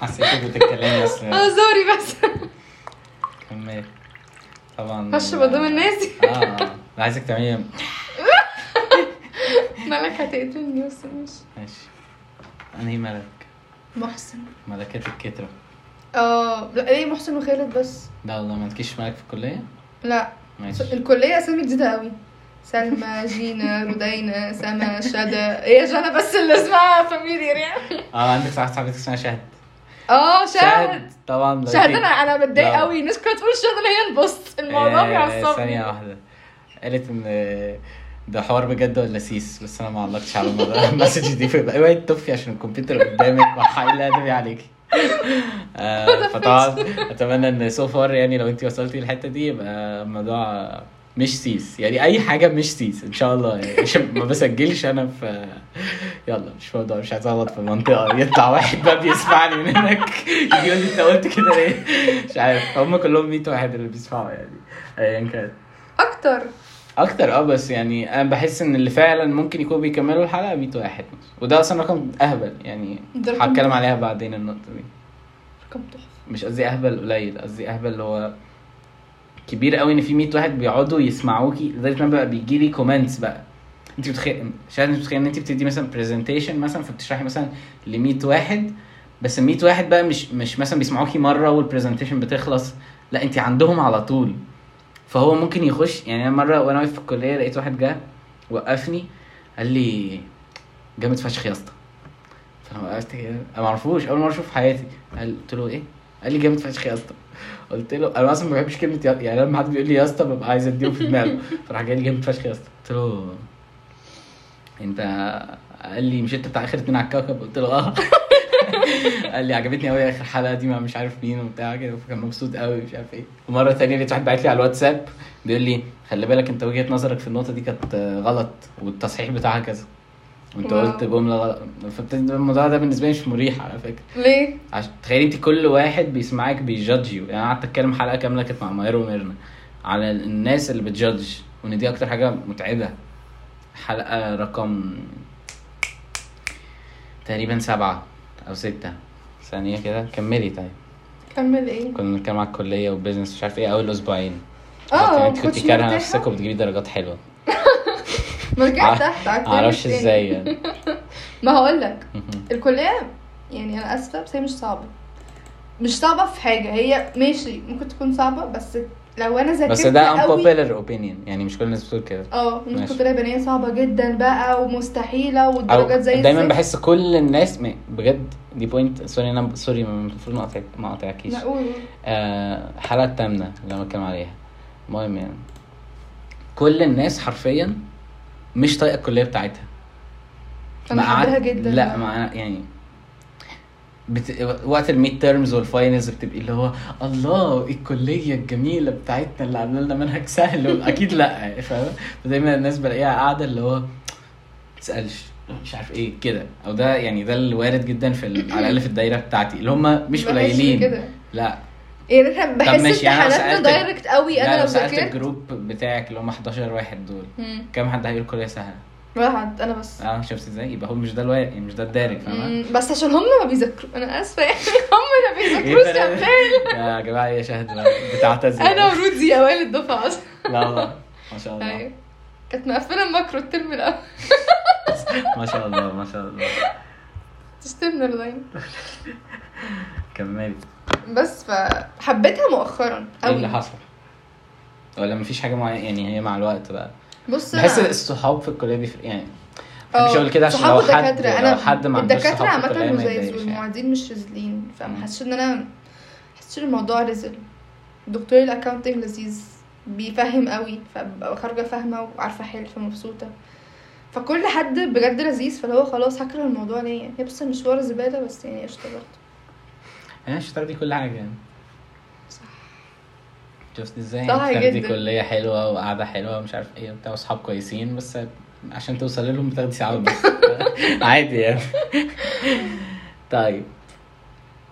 حسيتك بتتكلمي اصلا اه سوري بس كملي طبعا هشرب قدام الناس اه آه. لا عايزك تعملي مالك هتقتلني بس ماشي ماشي انهي ملك محسن ملكات الكترة اه لا ليه محسن وخالد بس لا والله ما تكيش ملك في الكلية لا ماشي الكليه اسامي جديده قوي سلمى جينا رودينا سما شدا هي جانا بس اللي اسمها فاميليير يعني اه عندك صاحبة صاحبتك اسمها شهد اه شاهد طبعا لو شاهد أنت- انا انا لا. متضايقه قوي الناس كلها تقول شاهد اللي هي البوست الموضوع آه، ثانية بيعصبني واحدة قالت ان ده حوار بجد ولا سيس بس انا ما علقتش على الموضوع المسج دي فيبقى اوعي تطفي عشان الكمبيوتر قدامك وهيلاقي عليكي آه، فطبعا اتمنى ان سو فار يعني لو انت وصلتي للحته دي يبقى الموضوع مش سيس يعني اي حاجه مش سيس ان شاء الله يعني عشان ما بسجلش انا في يلا مش موضوع مش عايز اغلط في المنطقه يطلع واحد بقى بيسمعني من هناك يجي يقول لي انت قلت كده ليه مش عارف هم كلهم 100 واحد اللي بيسمعوا يعني ايا كان اكتر اكتر اه بس يعني انا بحس ان اللي فعلا ممكن يكونوا بيكملوا الحلقه 100 واحد وده اصلا رقم اهبل يعني ده رقم- هتكلم عليها بعدين النقطه دي رقم تحفه مش قصدي اهبل قليل قصدي اهبل اللي هو كبير قوي ان في 100 واحد بيقعدوا يسمعوكي لدرجه ان أنا بقى بيجي لي كومنتس بقى انت بتخيل شايف انت بتخيل ان انت بتدي مثلا برزنتيشن مثلا فبتشرحي مثلا ل 100 واحد بس ال 100 واحد بقى مش مش مثلا بيسمعوكي مره والبرزنتيشن بتخلص لا انت عندهم على طول فهو ممكن يخش يعني انا مره وانا واقف في الكليه لقيت واحد جه وقفني قال لي جامد فشخ يا اسطى فانا وقفت كده انا ما اعرفوش اول مره اشوف في حياتي قال- قلت له ايه؟ قال لي جامد فشخ يا اسطى قلت له انا اصلا ما بحبش كلمه يا يعني لما حد بيقول لي يا اسطى ببقى عايز اديله في دماغه فراح جاي لي جامد فشخ يا اسطى قلت له انت قال لي مش انت بتاع اخر اتنين على الكوكب قلت له اه قال لي عجبتني قوي اخر حلقه دي مع مش عارف مين وبتاع كده فكان مبسوط قوي مش عارف ايه ومره تانية لقيت واحد بعت لي على الواتساب بيقول لي خلي بالك انت وجهه نظرك في النقطه دي كانت آه، غلط والتصحيح بتاعها كذا وانت واو. قلت جمله غلط فابتدي الموضوع ده بالنسبه لي مش مريح على فكره ليه؟ عشان تخيلي انت كل واحد بيسمعك بيجادج يو يعني انا قعدت اتكلم حلقه كامله كانت مع مايرو وميرنا على الناس اللي بتجادج وان دي اكتر حاجه متعبه حلقه رقم تقريبا سبعة او ستة ثانية كده كملي طيب كمل ايه؟ كنا بنتكلم على الكلية والبيزنس مش عارف ايه اول اسبوعين اه انت كنت كارهة نفسك وبتجيبي درجات حلوة ما رجعت ع- تحت على الكلية معرفش تاني. ازاي يعني ما هقول لك الكليه يعني انا اسفه بس هي مش صعبه مش صعبه في حاجه هي ماشي ممكن تكون صعبه بس لو انا ذاكرت بس ده قوي- unpopular opinion يعني مش كل الناس بتقول كده اه الناس ماشي. كنت قليله بنيه صعبه جدا بقى ومستحيله والدرجات او زي دايما الزفت. بحس كل الناس ما- بجد دي بوينت سوري انا سوري المفروض ما اقطعك ما اقطعكيش لا قول آه، الحلقه الثامنه اللي انا بتكلم عليها المهم يعني كل الناس حرفيا مش طايقه الكليه بتاعتها انا ما قعد- حبيتها جدا لا ما أنا- يعني بت... وقت الميد تيرمز والفاينلز بتبقي اللي هو الله الكليه الجميله بتاعتنا اللي عامله لنا منهج سهل اكيد لا فاهمه فدايما الناس بلاقيها قاعده اللي هو ما تسالش مش عارف ايه كده او ده يعني ده اللي وارد جدا في ال... على الاقل في الدايره بتاعتي اللي هم مش ما بحسش قليلين كده لا يعني انا بحس ماشي، يعني أنا امتحاناتنا سألتك- دايركت قوي لا انا لو لو سالت ذاكرت الجروب بتاعك اللي هم 11 واحد دول مم. كم حد هيقول كليه سهله؟ واحد انا بس اه شفت ازاي؟ يبقى هو مش ده الوارد يعني مش ده الدارج فاهمه؟ مم، بس عشان هم ما بيذاكروا انا اسفه يعني هم ما بيذاكروش يبقى يا أنا- فاهم إيه يا جماعه يا شهد بتعتذر انا ورودي اوائل الدفعه اصلا لا والله ما شاء الله أيوة. كانت مقفله الماكرو الترم الاول ما شاء الله ما شاء الله تشتمنا اللاين كملي بس فحبيتها مؤخرا ايه قوي اللي حصل؟ ولا مفيش حاجه معينه يعني هي مع الوقت بقى بص بحس أنا- الصحاب في الكليه بيفرق يعني اه، مش هقول كده عشان صحاب لو حد- الدكاترة. لو حد ما عندوش الدكاترة صحاب في عامة الكلية ما لزاز يتضايقش يعني. والمعيدين مش رزلين فما مم. حسيتش ان انا ما حسيتش ان الموضوع رزل دكتور الاكونتنج لذيذ بيفهم قوي فببقى خارجة فاهمة وعارفة احل فمبسوطة فكل حد بجد لذيذ فاللي هو خلاص هكره الموضوع ليه يعني هي بس مشوار زبالة بس يعني قشطة برضه انا الشطاره دي كل حاجه يعني صح. شفت ازاي صح انت بتاخدي جدا. كليه حلوه وقعده حلوه ومش عارف ايه وبتاع وصحاب كويسين بس عشان توصلي لهم بتاخدي ساعات بس عادي يعني طيب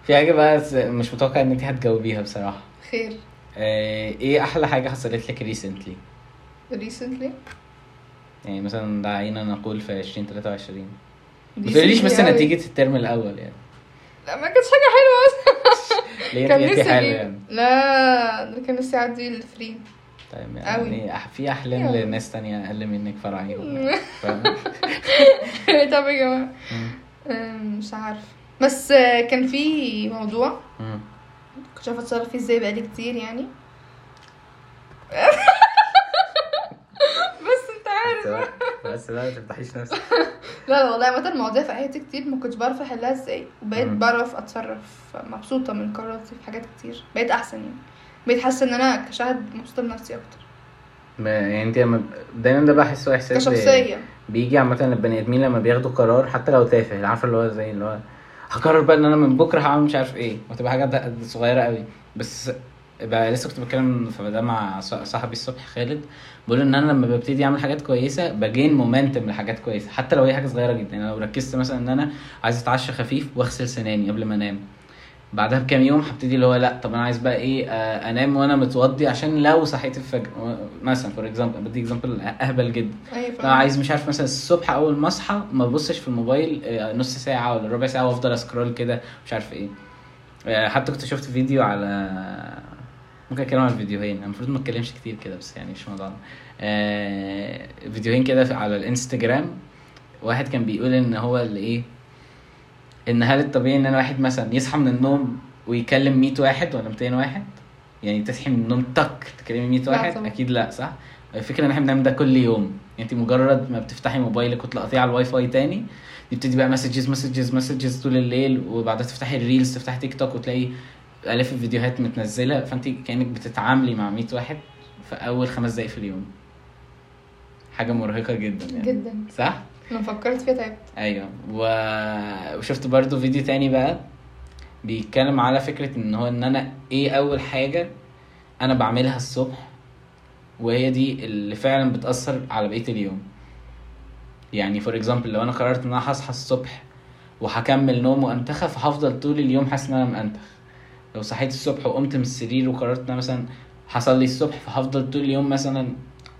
في حاجه بقى س- مش متوقع ان انت هتجاوبيها بصراحه خير آه، ايه احلى حاجه حصلت لك ريسنتلي recently يعني مثلا دعينا نقول في 2023 ما تقوليش بس نتيجه الترم الاول يعني لا ما كانتش حاجة حلوة اصلا ليه كان انت نفسي حلوه أجيب. يعني لا ده كان نفسي اعدي الفري طيب أوي. يعني أح- في احلام يلا. لناس تانية اقل منك فرعي فاهم؟ طب يا جماعة أم، مش عارف بس آه، كان في موضوع مم. كنت عارفة اتصرف فيه ازاي بقالي كتير يعني بس انت عارف بس لا ما تفتحيش نفسك لا لا والله عامة المواضيع في حياتي كتير ما كنتش بعرف احلها ازاي وبقيت مم. بعرف اتصرف مبسوطة من قراراتي في حاجات كتير بقيت احسن يعني بقيت حاسة ان انا كشهد مبسوطة بنفسي اكتر ما يعني انت لما دايما ده بحسه احساس كشخصية بيجي عامه للبني ادمين لما بياخدوا قرار حتى لو تافه عارفه اللي هو زي اللي هو هقرر بقى ان انا من بكره هعمل مش عارف ايه وتبقى حاجه ده- صغيره قوي بس بقى لسه كنت بتكلم في ده مع ص- صاحبي الصبح خالد بقول ان انا لما ببتدي اعمل حاجات كويسه بجين مومنتم لحاجات كويسه حتى لو هي حاجه صغيره جدا يعني لو ركزت مثلا ان انا عايز اتعشى خفيف واغسل سناني قبل ما انام بعدها بكام يوم هبتدي اللي هو لا طب انا عايز بقى ايه آه، انام وانا متوضي عشان لو صحيت الفجر مثلا فور اكزامبل بدي اكزامبل اهبل جدا ايوه لو فاهمة. عايز مش عارف مثلا الصبح اول ما اصحى ما ابصش في الموبايل آه، نص ساعه ولا ربع ساعه وافضل اسكرول كده مش عارف ايه آه، حتى كنت شفت فيديو على ممكن اتكلم على الفيديوهين أنا المفروض ما اتكلمش كتير كده بس يعني مش موضوعنا آه، فيديوهين كده في- على الانستجرام واحد كان بيقول ان هو اللي ايه ان هل الطبيعي ان انا واحد مثلا يصحى من النوم ويكلم 100 واحد ولا 200 واحد يعني تصحي من النوم تك تكلمي 100 واحد طبعا. اكيد لا صح الفكره ان احنا بنعمل ده كل يوم انت مجرد ما بتفتحي موبايلك وتلقطيه على الواي فاي تاني يبتدي بقى مسجز مسجز مسجز طول الليل وبعدها تفتحي الريلز تفتحي تيك توك وتلاقي الاف الفيديوهات متنزله فانت كانك بتتعاملي مع 100 واحد في اول خمس دقايق في اليوم حاجه مرهقه جدا يعني جدا صح لما فكرت فيها طيب. تعبت ايوه و- وشفت برضو فيديو تاني بقى بيتكلم على فكرة ان هو ان انا ايه اول حاجة انا بعملها الصبح وهي دي اللي فعلا بتأثر على بقية اليوم يعني فور اكزامبل لو انا قررت ان انا هصحى الصبح وهكمل نوم وانتخى فهفضل طول اليوم حاسس ان انا مأنتخ لو صحيت الصبح وقمت من السرير وقررت ان انا مثلا هصلي الصبح فهفضل طول اليوم مثلا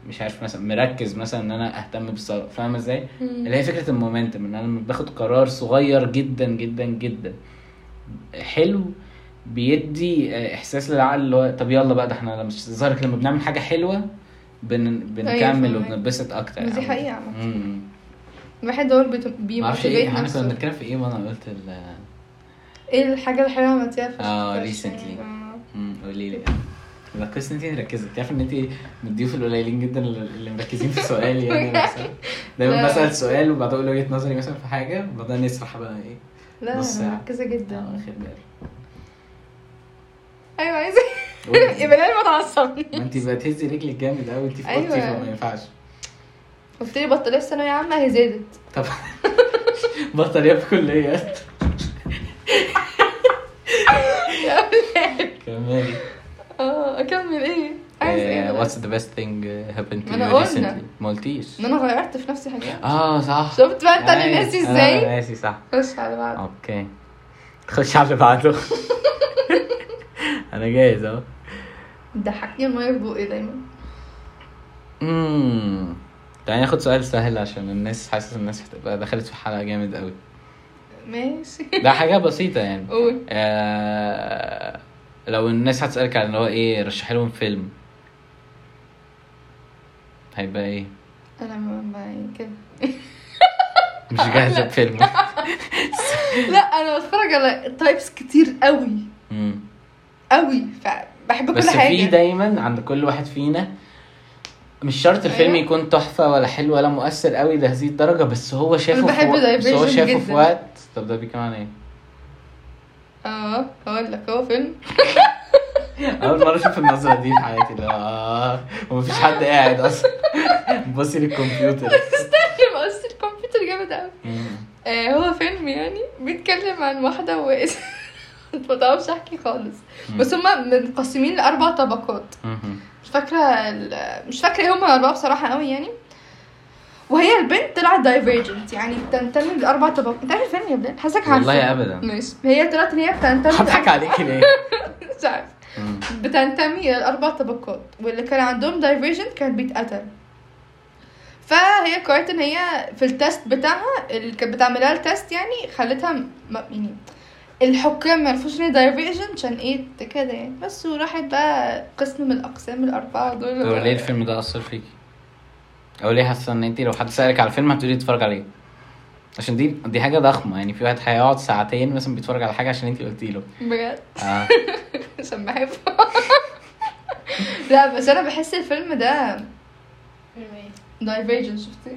مش عارف مثلا مركز مثلا ان انا اهتم بالصلاة فاهمة ازاي؟ اللي هي فكره المومنتم ان انا لما باخد قرار صغير جدا جدا جدا حلو بيدي آه، احساس للعقل اللي هو طب يلا بقى ده احنا لما ظهرك لما بنعمل حاجه حلوه بن... بنكمل أيوة، فاهمك. وبنتبسط اكتر ودي يعني. حقيقة عامة. امم. الواحد هو اللي بيت- ما اعرفش ايه بيموتيفيت احنا كنا نفسه بنتكلم في ايه وانا قلت ال ايه الحاجة اللي حلوة عملتيها في آه، في- recently. آه. امم، قولي لي لا كويس ان انت مركزه انت عارفه ان انت من الضيوف القليلين جدا اللي مركزين في سؤال يعني أنا بسأل. دايما لا. بسال سؤال وبعدين اقول وجهه نظري مثلا في حاجه وبعدين نسرح بقى ايه لا نص انا ساعة. مركزة اه، جدا واخد بالي ايوه عايزة قولي. يبقى انا ما اتعصبني ما انت بقى تهزي رجلك جامد قوي انت في أيوة. اوضتي فما ينفعش قلت لي بطلية في ثانوية عامة هي زادت طب بطاريه في كليات كملي آه، اه اكمل ايه عايز ايه أنا؟ إيه؟ واتس ذا بيست ثينج هابند تو ما أنا يو قلنا. ريسنتلي ما قلتيش ان انا غيرت في نفسي حاجات اه صح شفت بقى انت اللي أيوة. ناسي آه، ازاي ناسي صح خش على بعض اوكي خش على اللي بعده انا جاهز اهو ضحكني المية في بقي دايما امم تعالي ناخد سؤال سهل عشان الناس حاسس الناس هتبقى دخلت في حلقه جامد قوي ماشي ده حاجه بسيطه يعني قول آه، لو الناس هتسألك عن اللي هو ايه رشح لهم فيلم هيبقى ايه؟ انا ما ما- كده مش جاهزة بفيلم لا انا بتفرج على تايبس كتير قوي مم. قوي فبحب كل بس حاجه في دايما عند كل واحد فينا مش شرط الفيلم أيوة. يكون تحفة ولا حلو ولا مؤثر قوي لهذه الدرجة بس هو شافه بحب في وقت بس هو Divergent شافه في جداً. وقت طب ده بيتكلم عن ايه؟ اه هقول لك هو فيلم أول مرة أشوف النظرة دي في حياتي اللي هو آه ومفيش حد قاعد أصلا بصي للكمبيوتر استنى ما قصدي الكمبيوتر جامد قوي مم. آه هو فيلم يعني بيتكلم عن واحده واسم ما بعرفش احكي خالص بس هما منقسمين لاربع طبقات مم. مش فاكره ال- مش فاكره ايه هما الاربعه بصراحه قوي يعني وهي البنت طلعت دايفيرجنت يعني بتنتمي لاربع طبقات انت عارف الفيلم يا بلال حاسسك عارفه والله أبدا ماشي هي طلعت ان هي بتنتمي هضحك عليكي ليه؟ مش عارف مم. بتنتمي إلى الأربع طبقات واللي كان عندهم دايفيرجنت كان بيتقتل فهي قررت ان هي في التست بتاعها اللي كانت بتعملها التست يعني خلتها م... م- يعني الحكام ما يعرفوش ان دايفيرجنت عشان ايه كده يعني بس وراحت بقى قسم من الاقسام الاربعه دول طب ليه الفيلم ده اثر فيكي او ليه حاسه ان انت لو حد سالك على الفيلم هتقولي تتفرج عليه عشان دي دي حاجه ضخمه يعني في واحد هيقعد ساعتين مثلا بيتفرج على حاجه عشان انت قلتي له بجد آه. عشان بحبه لا بس انا بحس الفيلم ده فيلم ايه؟ دايفيرجنت شفتيه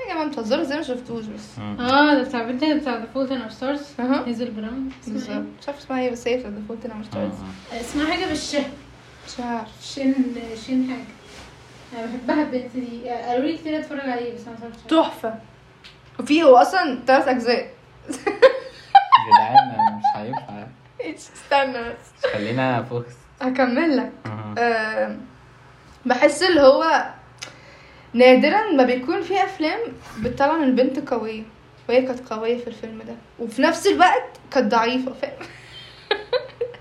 يا جماعه بتهزروا ازاي ما شفتوش بس اه ده بتاع بنت بتاع ذا فولت ان اور ستارز اها هيزل براون اسمها بالظبط ايه؟ مش عارفه اسمها ايه بس هي في الديفولت انا مش عارفه اسمها حاجه بالشه مش عارفه شين شين حاجه انا بحبها البنت دي قالوا لي كتير اتفرج عليه بس انا ما اتفرجتش عليه. تحفه وفيه هو اصلا ثلاث اجزاء يا جدعان أنا مش هينفع إيش، استنى بس مش خلينا فوكس هكمل لك آم، بحس اللي هو نادرا ما بيكون في افلام بتطلع من البنت قويه وهي كانت قويه في الفيلم ده وفي نفس الوقت كانت ضعيفه فاهم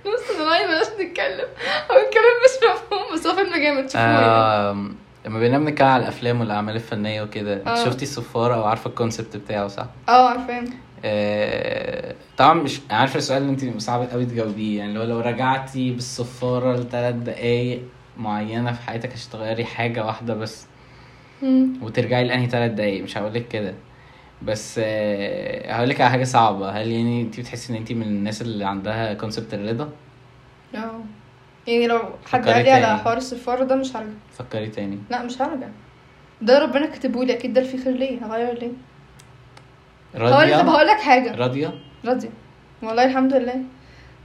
بص انا رأيي بلاش نتكلم هو الكلام مش مفهوم بس هو فيلم جامد شوفوه يعني. آم، لما بنبقى بنتكلم على الافلام والاعمال الفنيه وكده انت آه. شفتي الصفاره او عارفه الكونسبت بتاعه صح؟ اه عارفاه آه، طبعا مش عارفه السؤال اللي انت صعب قوي تجاوبيه يعني لو لو رجعتي بالصفاره لثلاث دقايق معينه في حياتك عشان تغيري حاجه واحده بس مم. وترجعي لانهي ثلاث دقايق مش هقول لك كده بس آه، هقول لك على حاجه صعبه هل يعني انت بتحسي ان انت من الناس اللي عندها كونسبت الرضا اه يعني لو حد فكري قال لي على تاني. حوار السفاره ده مش هرجع فكري تاني لا مش هرجع ده ربنا كاتبهولي اكيد ده الفي خير ليه هغير ليه هو اللي طب راضيه هقول لك حاجه راضيه راضيه والله الحمد لله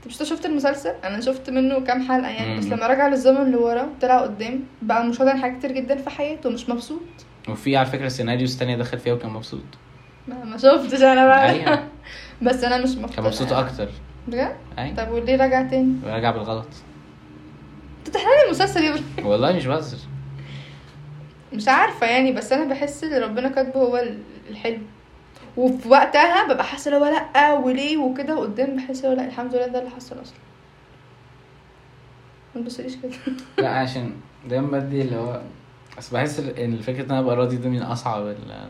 طب انت شفت المسلسل انا شفت منه كام حلقه يعني بس مم. لما رجع للزمن لورا طلع قدام بقى مش واضح حاجات كتير جدا في حياته مش مبسوط وفي على فكره سيناريوز تانية دخل فيها وكان مبسوط ما, ما شفتش انا بقى ايوه بس انا مش مبسوط كان مبسوط اكتر بجد ايوه طب وليه رجع تاني رجع بالغلط انت تحلل المسلسل يا ابني والله مش بهزر مش عارفه يعني بس انا بحس اللي ربنا كاتبه هو ال- الحلو وفي وقتها ببقى حاسه اللي هو لا وليه وكده وقدام بحس اللي هو لا الحمد لله ده اللي حصل اصلا ما تبصليش كده لا عشان دايما بدي اللي هو بس بحس ان الفكره ان انا ابقى راضي ده من اصعب ال-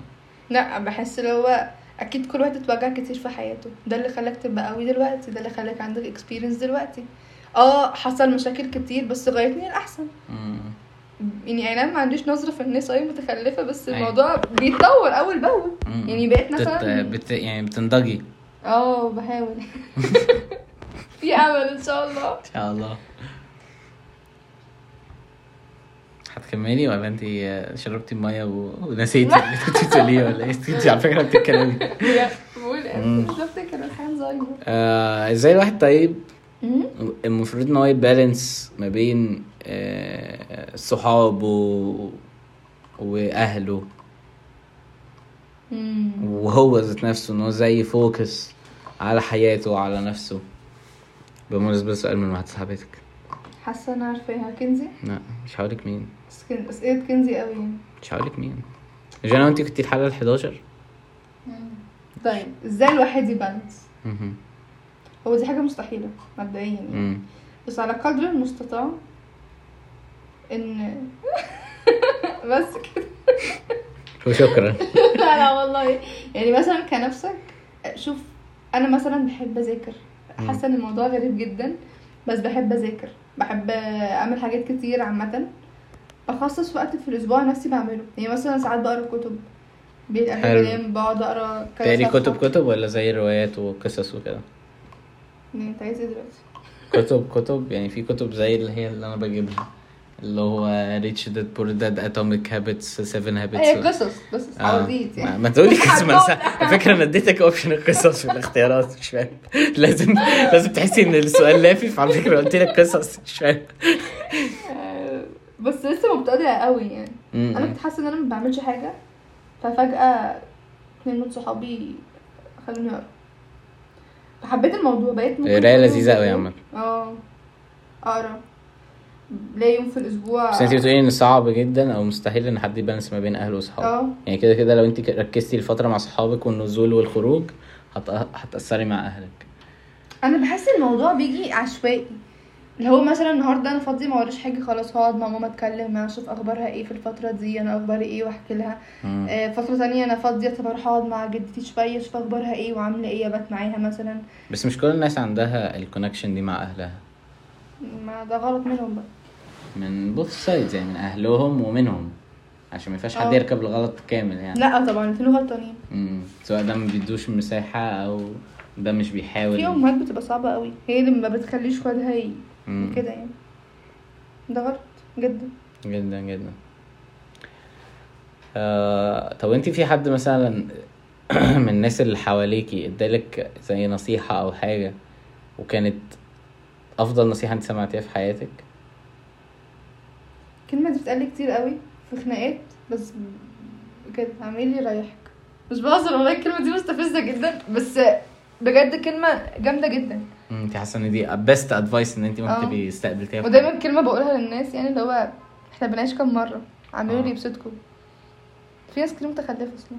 لا بحس اللي هو اكيد كل واحد اتوجع كتير في حياته ده اللي خلاك تبقى قوي دلوقتي ده اللي خلاك عندك اكسبيرينس دلوقتي اه حصل مشاكل كتير بس غيرتني الاحسن مم. يعني اي نعم ما عنديش نظره في الناس اي متخلفه بس أيوة. الموضوع بيتطور اول باول مم. يعني بقيت بت... مثلا بت... يعني بتنضجي ان اه بحاول في امل ان شاء الله شاء الله هتكملي ولا انت شربتي الميه و... ونسيتي اللي كنت بتقوليه ولا ايه انت على فكره بتتكلمي بقول إيه، مم. مش بفتكر الحياه زيه آه، ازاي الواحد طيب مم. المفروض ان هو يبالانس ما بين آه، صحابه واهله مم. وهو ذات نفسه ان هو زي فوكس على حياته وعلى نفسه بمناسبة سؤال من واحدة صاحبتك حاسه انا عارفاها كنزي لا مش هقولك مين بس كن- اسئله كنزي قوي يعني مش هقولك مين مش انا وانت كنتي الحلقة ال 11 طيب ازاي الواحد يبالانس هو دي حاجه مستحيله مبدئيا يعني بس على قدر المستطاع ان بس كده وشكرا لا لا والله يعني مثلا كنفسك شوف انا مثلا بحب اذاكر حاسه ان الموضوع غريب جدا بس بحب اذاكر بحب اعمل حاجات كتير عامه بخصص وقت في الاسبوع نفسي بعمله يعني مثلا ساعات بقرا كتب بيبقى حلو. بنام بقعد اقرا كذا تقري صفحة. كتب كتب ولا زي روايات وقصص وكده يعني انت عايز ايه دلوقتي كتب كتب يعني في كتب زي اللي هي اللي انا بجيبها اللي هو ريتش داد بور داد اتوميك هابتس 7 هي هابتس قصص بس آه. عواضيت يعني ما تقولي قصص ما أنا- على فكره انا اديتك اوبشن القصص في الاختيارات مش فاهم لازم لازم تحسي ان السؤال لافف على فكره قلت لك قصص مش فاهم آه، بس لسه مبتدئه قوي يعني انا كنت حاسه ان انا ما بعملش حاجه ففجاه اتنين من صحابي خلوني اقرا فحبيت الموضوع بقيت ممكن قرايه كل لذيذه قوي يا أسبوع- عمر اه اقرا لا يوم في الاسبوع بس انت بتقولي ان صعب جدا او مستحيل ان حد يبالانس ما بين اهله واصحابه اه يعني كده كده لو انت ك- ركزتي الفتره مع صحابك والنزول والخروج هت- هتاثري مع اهلك انا بحس الموضوع بيجي عشوائي اللي هو مثلا النهارده انا فاضيه ما وريش حاجه خلاص هقعد مع ماما اتكلم معاها اشوف اخبارها ايه في الفتره دي انا اخباري ايه واحكي لها مم. آه، فتره تانية انا فاضيه طب اروح اقعد مع جدتي شويه اشوف اخبارها ايه وعامله ايه ابات معاها مثلا بس مش كل الناس عندها الكونكشن دي مع اهلها ما ده غلط منهم بقى من بوث سايدز يعني من اهلهم ومنهم عشان ما ينفعش حد اه. يركب الغلط كامل يعني لا طبعا الاتنين غلطانين مم. سواء ده ما بيدوش مساحه او ده مش بيحاول في امهات بتبقى صعبه قوي هي اللي ما بتخليش ولادها ي- مم. كده يعني ده غلط جدا جدا جدا آه، طب انت في حد مثلا من الناس اللي حواليكي ادالك زي نصيحة او حاجة وكانت افضل نصيحة انت سمعتيها في حياتك الكلمه دي بتقال كتير قوي في خناقات بس بجد عمال يريحك مش بهزر والله الكلمه دي مستفزه جدا بس بجد كلمه جامده جدا انت حاسة ان دي best advice ان انت اه. ممكن تبقي استقبلتيها في ودايما كلمه بقولها للناس يعني اللي هو احنا بنعيش كام مره عملوا آه. لي يبسطكم في ناس كتير متخلفه اصلا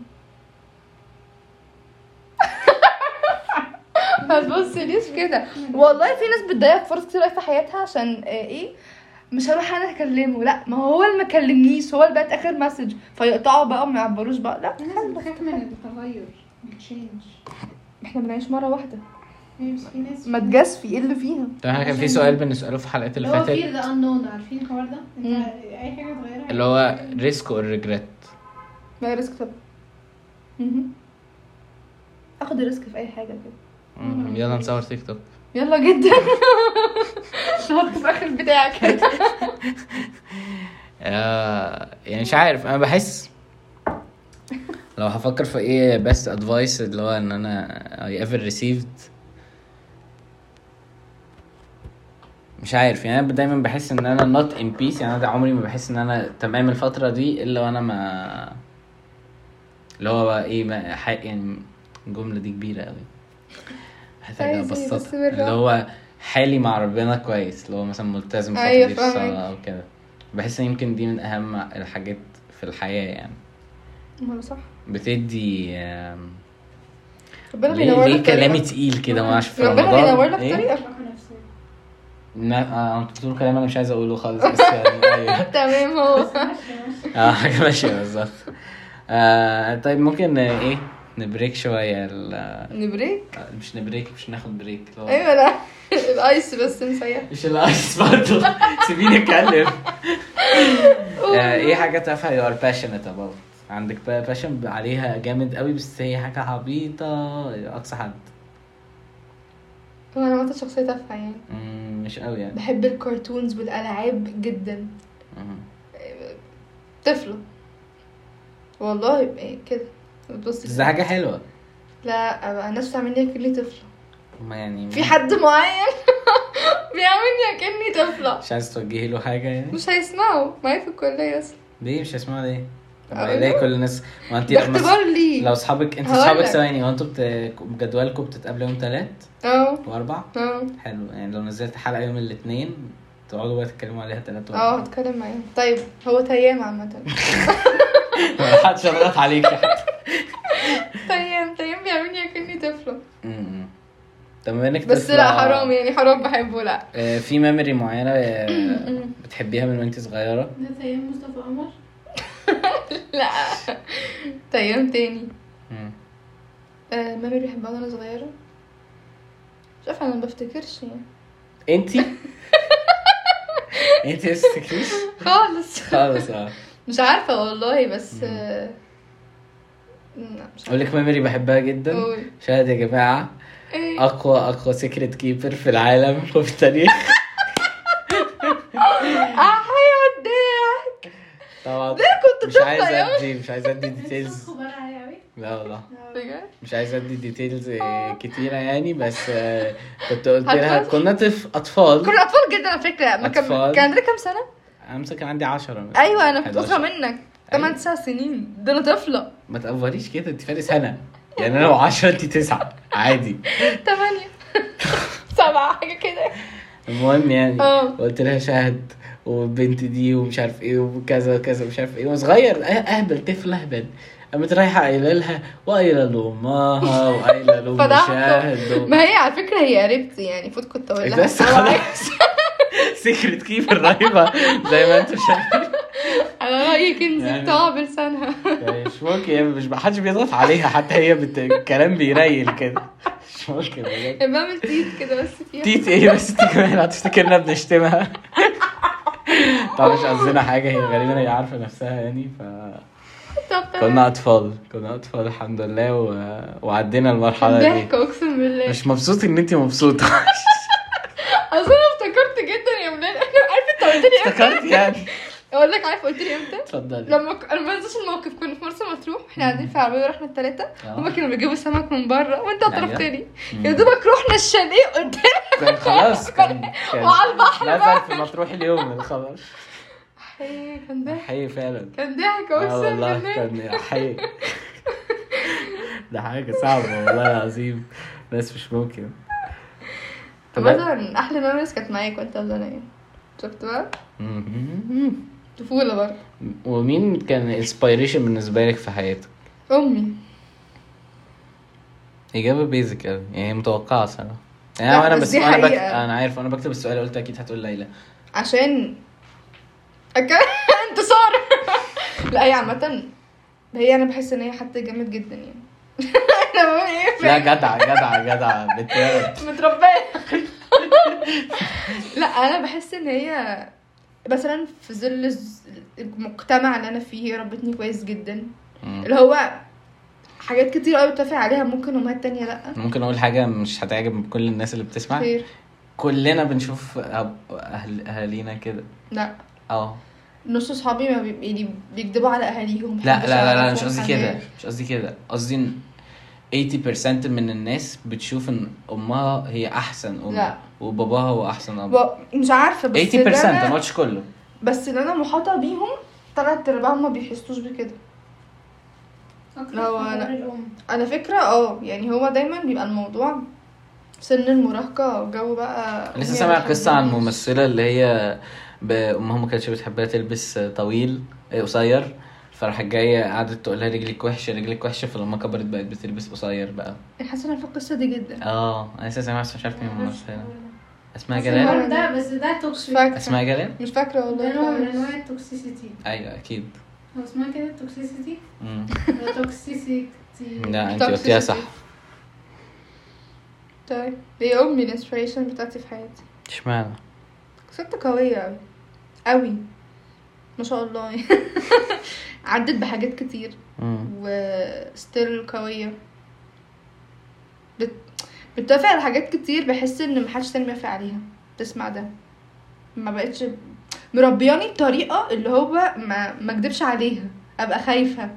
ما تبصليش كده والله في ناس بتضيع فرص كتير أوي في حياتها عشان آه، ايه مش هروح انا اكلمه لا ما هو اللي ما كلمنيش هو اللي بعت اخر مسج فيقطعوا بقى وما يعبروش بقى لا الناس بتخاف من التغير التشينج احنا بنعيش مره واحده في ناس ما تجاش في ايه اللي فيها طب احنا كان في سؤال بنسأله في الحلقات اللي اللي هو فاتت فير ذا انون عارفين الحوار ده؟ انت مم. اي حاجه تغيرها اللي هو risk or regret ما هي ريسك طبعا مهم. اخد الريسك في اي حاجه كده مم. يلا نصور تيك توك يلا جدا شهرت في اخر بتاعك آه يعني مش عارف انا بحس لو هفكر في ايه بس ادفايس اللي هو ان انا I ever received مش عارف يعني انا دايما بحس ان انا نوت ان بيس يعني انا ده عمري ما بحس ان انا تمام الفتره دي الا وانا ما اللي هو بقى ايه ما حق يعني الجمله دي كبيره قوي محتاج عايز إيه؟ بس ابسطها بالراحة. اللي هو حالي مع ربنا كويس اللي هو مثلا ملتزم فتره أيوة أيوة فاهمك. الصلاه او كده بحس ان يمكن دي من اهم الحاجات في الحياه يعني ما هو صح بتدي آم، ربنا ليه, بينور ليه لك كلامي طريقك تقيل كده ما عشان في ربنا رمضان بينور لك إيه؟ طريقك راحة نفسية لا انت بتقول كلام انا مش عايز اقوله خالص بس يعني ايوه تمام هو اه حاجه ماشيه بالظبط آه طيب ممكن آه، ايه نبريك شويه ال- آه، نبريك مش نبريك مش ناخد بريك اللي هو- ايوه لا الايس بس مسيح مش الايس برضه سيبيني اتكلم آه ايه حاجه تافهه يو ار باشنت اباوت عندك بقى باشن عليها جامد قوي بس هي حاجه عبيطه اقصى حد هو انا مثلا شخصيه تافهه يعني مم، مش قوي يعني بحب الكرتونز والالعاب جدا مم. طفله والله إيه كده بتبص بس ده حاجه حلوه لا أنا- الناس بتعملني كأني طفلة ما يعني في حد معين بيعملني كأني طفلة مش عايز توجهي له حاجه يعني مش هيسمعوا معايا في الكلية أصلا ليه مش هسمعها ليه؟ طب أقول ليه كل الناس ما انت ده لما اختبار لو لي اصحابك انت هقول اصحابك لك. ثواني هو انتوا بت- جدولكم بتتقابلوا يوم تلات اه واربع اه حلو يعني لو نزلت حلقه يوم الاثنين تقعدوا بقى تتكلموا عليها تلات اه واربع هتكلم معاهم طيب هو تيام عامة ما حدش يضغط عليك يا حد تيام تيام بيعملني كأني طفلة م-م. طب بما انك بس طفلة، لا حرام يعني حرام بحبه لا آه، في ميموري معينه آه، بتحبيها من وانت صغيره ده تيام مصطفى قمر لا تيام تاني م. آه مامي بيحبها وانا صغيرة مش عارفة انا ما بفتكرش يعني انت انت لسه تفتكريش خالص خالص اه مش عارفة والله بس آه، لا مش اقول لك ميموري بحبها جدا قول. شاهد يا جماعه إيه؟ اقوى اقوى سيكريت كيبر في العالم وفي التاريخ آه، احيا الضحك طبعا ليه كنت مش عايز طفلة يا ادي مش عايز ادي مش ديتيلز خبر عليا قوي لا والله بجد؟ مش عايز ادي ديتيلز آه. كتيره يعني بس آه، كنت قلت لها هتفضل. كنا طف اطفال كنا اطفال جدا على فكره ما كان أطفال. كان عندنا كام سنه؟ امسك كان عندي 10 ايوه انا كنت 11. اطفى منك 8 9 سنين ده انا طفله ما تقفريش كده انت فارق سنه يعني انا لو 10 انت 9 عادي 8 7 حاجه كده المهم يعني اه. قلت لها شاهد والبنت دي ومش عارف ايه وكذا وكذا ومش عارف ايه وصغير اه- اهبل طفل اهبل قامت رايحه قايله لها وقايله لامها وقايله لام فضحته. شاهد و- ما هي على فكره هي قريبتي يعني المفروض كنت اقول لها بس خلاص سيكريت كيبر رهيبة زي ما انتم شايفين انا رايي كنزي يعني- بتوع اه بلسانها مش ممكن يعني مش حدش بيضغط عليها حتى هي بت... الكلام بيريل كده مش ممكن بجد بعمل تيت كده بس فيها تيت ايه بس انت كمان هتفتكرنا بنشتمها طبعا مش قصدنا حاجة هي غالبا هي عارفة نفسها يعني ف طب تمام كنا أطفال كنا أطفال الحمد لله و... وعدينا المرحلة دي ضحك اقسم بالله مش مبسوط إن أنت مبسوطة اصل انا افتكرت جدا يا منال انا عارف انت قلت لي امتى افتكرت يعني اقول لك عارف قلت لي امتى اتفضلي لما ك... انا ما انساش الموقف كنا في مرسى مطروح احنا قاعدين في العربيه ورحنا الثلاثه آه. هما كانوا بيجيبوا سمك من بره وانت أيوة. اطرفتني يا دوبك رحنا الشاليه قلت كان خلاص كان كان وعلى البحر نزل في مطروح اليوم الخبر حي كان ضحك حقيقي فعلا كان ضحك اه اقسم والله بالله كان حقيقي ده حاجة صعبة والله العظيم بس مش ممكن طب مثلا احلى ميموريز كانت معايا كنت زمان شفت بقى مم. طفوله برضه ومين كان انسبيريشن بالنسبة لك في حياتك؟ امي إجابة بيزك أوي يعني هي متوقعة صراحة لا، يعني أنا بس بس دي أنا بك... حقيقة. أنا عارف وأنا بكتب السؤال قلت أكيد هتقول ليلى عشان أك... انتصار لا هي عامه هي انا بحس ان هي حد جامد جدا يعني انا بقول ايه لا جدعة جدعة جدعة بنت ولد. متربيه لا انا بحس ان هي مثلا في ظل الز- المجتمع اللي انا فيه هي ربتني كويس جدا مم. اللي هو حاجات كتير قوي بتفق عليها ممكن امهات تانية لا ممكن أقول حاجة مش هتعجب كل الناس اللي بتسمع خير كلنا بنشوف أب- أهل... أهالينا كده لا اه نص صحابي ما بي... يعني بيكدبوا على اهاليهم لا لا لا لا مش محدش قصدي يعرفهم عن كده مش قصدي كده قصدي إن 80% من الناس بتشوف ان امها هي احسن ام لا. وباباها هو احسن اب 80% ب- مش عارفه بس اللي ما أنا قلتش كله بس اللي انا محاطه بيهم تلات ارباعهم ما بيحسوش بكده أكتر لا، في أنا- حوار الأم على فكره اه يعني هو دايما بيبقى الموضوع سن المراهقه وجو بقى يعني لسه أمي سامع ما قصه عن بتحبنيش. ممثله اللي هي ب- امها ما كانتش بتحبها تلبس طويل إيه، قصير فراحت جايه قعدت تقول لها رجلك وحشه رجلك وحشه فلما كبرت بقت بتلبس قصير بقى أنا حاسه ان انا في القصه دي جدا اه انا لسه سامع بس مش عارف مين معرفش الممثله الحوار ده. اسمها بس جلال الحوار ده بس ده مش توكسيك فاكره اسمها جلال مش فاكره ده نوع من والله أنواع التوكسيسيتي ايوه اكيد هو اسمها كده التوكسيسيتي مم. ولا توكسيسيتي لا انت قلتيها صح طيب هي امي الانسبريشن بتاعتي في حياتي اشمعنى ست قوية أوي أوي ما شاء الله يعني عدت بحاجات كتير مم. وستيل قوية بت... بتوافق على حاجات كتير بحس ان محدش تاني بيوافق عليها تسمع ده ما بقتش مربياني بطريقة اللي هو ما ما اكدبش عليها ابقى خايفة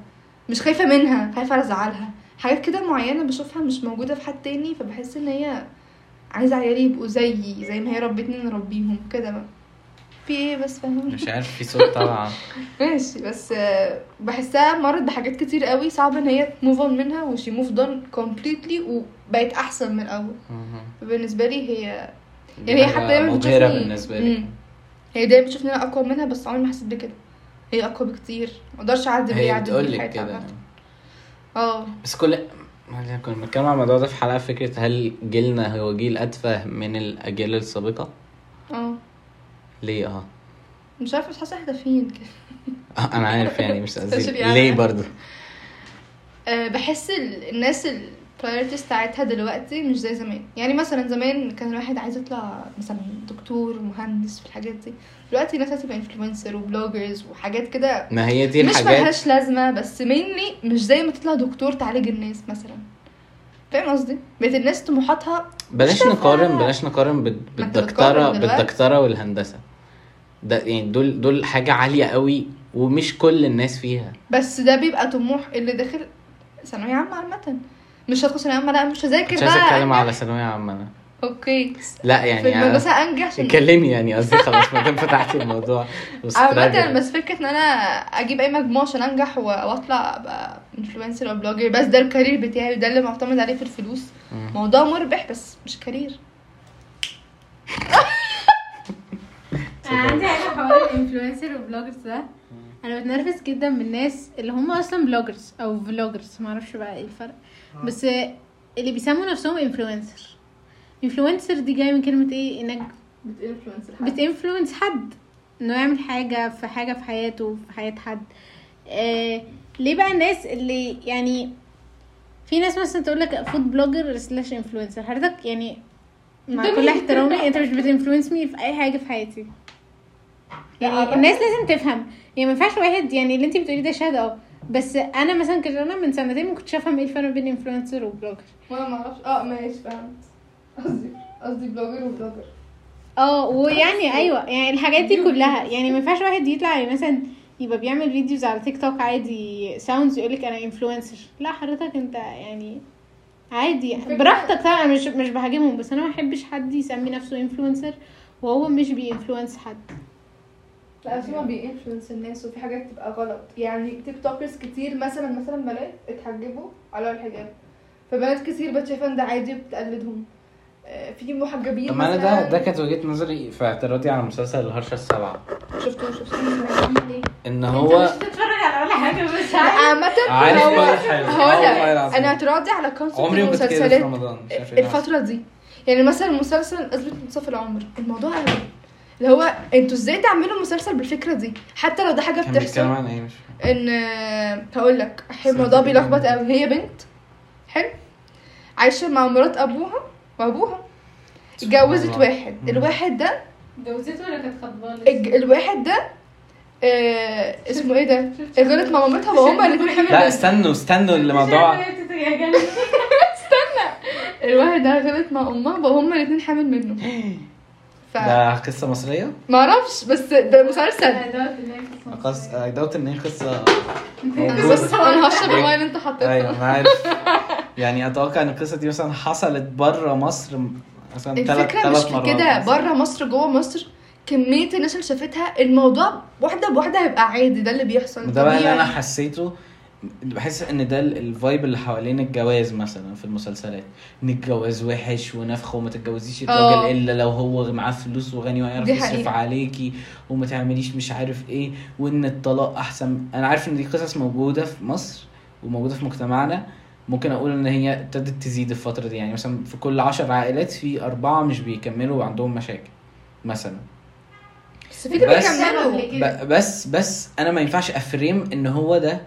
مش خايفة منها خايفة على زعلها حاجات كده معينة بشوفها مش موجودة في حد تاني فبحس ان هي عايزة عيالي يبقوا زيي زي ما هي ربتني نربيهم كده بقى في ايه بس فاهم مش عارف في صوت طبعا ماشي بس آه، بحسها مرت بحاجات كتير قوي صعب ان هي موف اون منها وشي موف دون كومبليتلي وبقت احسن من الاول بالنسبه لي هي يعني هي حتى دايما مبهرة بتشوفني- بالنسبة لي مم. هي دايما بتشوفني انا اقوى منها بس عمري ما حسيت بكده هي اقوى بكتير ما اقدرش اعدي بيه هي عدت بيه بتقول لك حياتي كده عامة. اه بس كل ما كنا بنتكلم عن الموضوع ده في حلقة فكرة هل جيلنا هو جيل أتفه من الأجيال السابقة؟ اه ليه اه؟ مش عارفه مش حاسه احنا فين كده آه، أنا عارف يعني مش قصدي مش يعني. ليه برضه؟ آه، بحس ال- الناس البرايورتيز بتاعتها دلوقتي مش زي زمان يعني مثلا زمان كان الواحد عايز يطلع مثلا دكتور مهندس في الحاجات دي دلوقتي الناس هتبقى انفلونسر وبلوجرز وحاجات كده ما هي دي مش الحاجات ملهاش لازمه بس mainly مش زي ما تطلع دكتور تعالج الناس مثلا فاهم قصدي بقت الناس طموحاتها بلاش مش نقارن تافهة. بلاش نقارن بال- ما انت بالدكترة بتقارن دلوقتي. بالدكترة والهندسة ده يعني دول دول حاجة عالية قوي ومش كل الناس فيها بس ده بيبقى طموح اللي داخل ثانويه عامه عامه مش هدخل ثانويه عامه لا مش هذاكر مش بقى عايز اتكلم أنجح. على ثانوية عامة أنا. اوكي لا في يعني أنا- المدرسه انجح عشان اتكلمي يعني قصدي خلاص ما دام فتحتي الموضوع عامة وستراجل. بس فكرة ان انا اجيب اي مجموع عشان انجح و- واطلع ابقى انفلونسر او بلوجر بس ده الكارير بتاعي وده اللي معتمد عليه في الفلوس مم. موضوع مربح بس مش كارير انا عندي حاجه حوار الانفلونسر والبلوجرز ده انا بتنرفز جدا من الناس اللي هم اصلا بلوجرز او فلوجرز ما اعرفش بقى ايه الفرق آه. بس اللي بيسموا نفسهم انفلونسر انفلونسر دي جايه من كلمه ايه انك بتانفلونسر بتانفلونس حد انه يعمل حاجه في حاجه في حياته في حياه حد آه ليه بقى الناس اللي يعني في ناس مثلا تقول لك فود بلوجر سلاش انفلونسر حضرتك يعني مع انت كل مين؟ احترامي انت مش بتنفلونس مي في اي حاجه في حياتي يعني أعتقد- الناس لازم تفهم يعني ما ينفعش واحد يعني اللي انت بتقوليه ده شهاده اه بس انا مثلا كنت انا من سنتين ما كنتش افهم ايه الفرق بين انفلونسر وبلوجر وانا معرفش اه ماشي فهمت قصدي قصدي بلوجر وبلوجر اه ويعني ايوه يعني الحاجات دي فيديو كلها يعني ما ينفعش واحد يطلع يعني مثلا يبقى بيعمل فيديوز على تيك توك عادي ساوندز يقولك انا انفلونسر لا حضرتك انت يعني عادي براحتك طبعا أنا مش مش بهاجمهم بس انا ما احبش حد يسمي نفسه انفلونسر وهو مش بينفلونس حد لا في ما بينفلونس الناس وفي حاجات بتبقى غلط يعني تيك توكرز كتير مثلا مثلا بنات اتحجبوا على الحجاب فبنات كتير بقت شايفه ان ده عادي وبتقلدهم آه، في محجبين طب ما انا مثلا- ده ده كانت وجهه نظري في اعتراضي على مسلسل الهرشه السبعه شفتوه شفتوه ان انت هو مش بتتفرج على ولا حاجه بس عامة عارف هو بقى الحلو. هو والله لا العظيم. انا اعتراضي على كونسبت عمري ما كنت كده في المسلسلات رمضان مش عارف ايه اللي حصل. الفترة دي يعني مثلا مسلسل أزمة منتصف العمر الموضوع غريب. اللي هو انتوا ازاي تعملوا مسلسل بالفكرة دي حتى لو ده حاجة كان بيتكلم بتحصل عن ايه مش فاهم. ان هقول لك الموضوع بيلخبط قوي هي بنت حلو عايشة مع مرات ابوها وابوها اتجوزت سبحان الله. واحد الواحد ده جوزته ولا كانت خطبانه الج- الواحد ده آه اسمه ايه ده غلط مع مامتها وهما الاتنين حامل لا بنت استنوا استنوا الموضوع الواحد ده غلط مع امها وهما الاتنين حامل منه ف ده قصه مصريه معرفش بس ده مسلسل قص... اي دوت ان هي قصه بس انا هشرب المايه اللي انت ايوه حطيتها انا عارف يعني اتوقع ان القصه دي مثلا حصلت بره مصر مثلا ثلاث الفكره مش ثلاث مرات في كده مثلاً. بره مصر جوه مصر كميه الناس اللي شافتها الموضوع واحده بواحده هيبقى عادي ده اللي بيحصل ده بقى اللي انا طبيعي. حسيته بحس ان ده ال- الفايب اللي حوالين الجواز مثلا في المسلسلات ان الجواز وحش ونفخ وما تتجوزيش آه. الراجل الا لو هو معاه فلوس وغني ويعرف دي يصرف حقيقة. عليكي وما تعمليش مش عارف ايه وان الطلاق احسن انا عارف ان دي قصص موجوده في مصر وموجوده في مجتمعنا ممكن اقول ان هي ابتدت تزيد الفتره دي يعني مثلا في كل عشر عائلات في اربعه مش بيكملوا وعندهم مشاكل مثلا بس في كده بس- بيكملوا ب- بس بس انا ما ينفعش افريم ان هو ده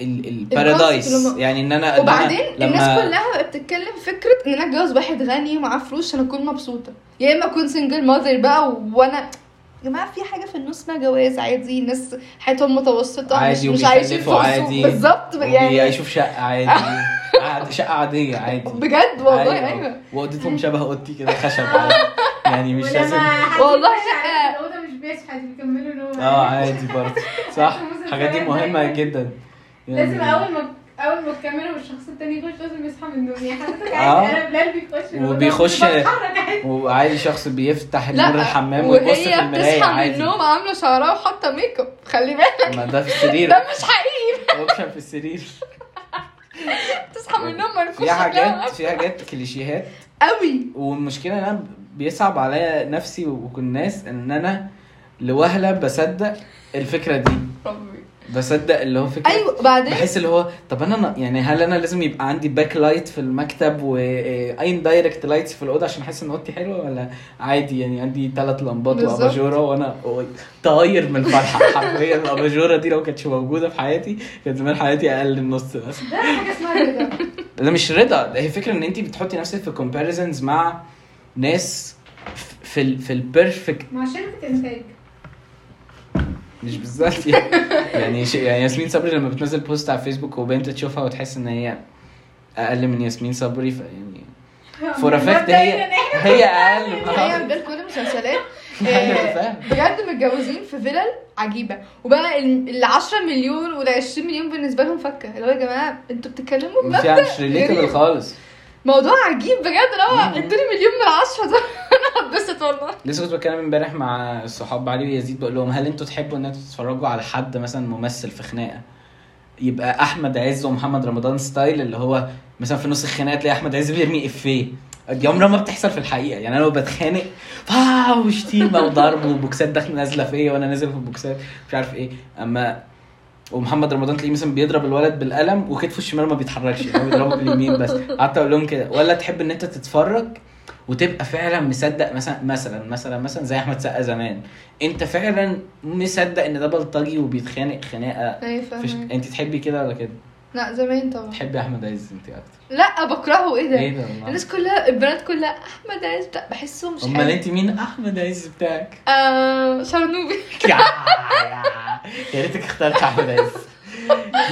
ال البارادايس الباسط يعني ان انا وبعدين إن أنا الناس كلها بقت بتتكلم فكره ان انا اتجوز واحد غني ومعاه فلوس عشان اكون مبسوطه يا اما اكون سنجل ماذر بقى وانا يا جماعه في حاجه في النص اسمها جواز عادي الناس حياتهم متوسطه عادي مش, مش عايشين في وبيخلفوا عادي. عادي بالظبط يعني بيعيشوا في شقه عادي قاعد- شقه عاديه عادي أيوة. بجد والله ايوه واوضتهم شبه اوضتي كده خشب عادي يعني مش لازم والله لا. لا الأوضة مش بيصحى بيكملوا نوم اه عادي برضه صح المسلسلات الحاجات دي مهمه دايماً. جدا يعني- لازم اول ما اول ما تكملوا والشخص التاني يخش لازم يصحى من النوم يعني حضرتك آه. عايز انا بلال بيخش الأوضة وبيخش- بتحرك عادي. وعادي شخص بيفتح لا نور الحمام ويبص في وهي المرايه بتصحى من عادي النوم عامله شعرها وحاطه ميك اب خلي بالك ما ده في السرير ده مش حقيقي اوبشن في السرير بتصحى من النوم منكوش في يعني حاجات في حاجات كليشيهات قوي والمشكله ان انا بيصعب عليا نفسي والناس ان انا لوهله بصدق الفكره دي ربي بصدق اللي هو فكره ايوه بعدين بحس اللي هو طب انا يعني هل انا لازم يبقى عندي باك لايت في المكتب آه، واين دايركت لايتس في الاوضه عشان احس ان اوضتي حلوه ولا عادي يعني عندي ثلاث لمبات بالظبط. واباجوره وانا طاير من الفرحه حرفيا الاباجوره دي لو كانتش موجوده في حياتي كان زمان حياتي اقل من نص بس ده حاجة اسمها رضا ده مش رضا ده هي فكره ان انت بتحطي نفسك في كومباريزنز مع ناس ف- في ال في البيرفكت مع شركة انتاج مش بالذات يعني يعني, ش- يعني ياسمين صبري لما بتنزل بوست على فيسبوك وبنت تشوفها وتحس ان هي اقل من ياسمين صبري يعني فيعني فور افكت هي هي آه. اقل من هي بجد كل المسلسلات أيوة، آه، فاهم. بجد متجوزين في فيلل عجيبه وبقى ال 10 مليون وال 20 مليون بالنسبه لهم فكه اللي هو يا جماعه انتوا بتتكلموا بجد فيها مش ريليتبل خالص موضوع عجيب بجد اللي هو ادوني مليون من 10 ده انا هتبسط والله لسه كنت بتكلم امبارح مع الصحاب علي ويزيد بقول لهم هل انتوا تحبوا ان انتوا تتفرجوا على حد مثلا ممثل في خناقه يبقى احمد عز ومحمد رمضان ستايل اللي هو مثلا في نص الخناقه تلاقي احمد عز بيرمي افيه دي عمرها ما بتحصل في الحقيقه يعني انا لو بتخانق فا وشتيمه وضرب وبوكسات داخله نازله فيا وانا نازل في البوكسات مش عارف ايه اما ومحمد رمضان تلاقيه مثلا بيضرب الولد بالقلم وكتفه الشمال ما بيتحركش يعني هو بيضربه باليمين بس قعدت اقول لهم كده ولا تحب ان انت تتفرج وتبقى فعلا مصدق مثلا مثلا مثلا مثلا زي احمد سقا زمان انت فعلا مصدق ان ده بلطجي وبيتخانق خناقه ايوه فش... فاهمة. انت تحبي كده ولا كده؟ لا زمان طبعا تحبي احمد عز انت اكتر لا بكرهه ايه ده ايه ده والله؟ الناس كلها البنات كلها احمد عز بتاع بحسه مش امال حلو. انت مين احمد عز بتاعك؟ آه شرنوبي يا يا ريتك اخترت احمد عز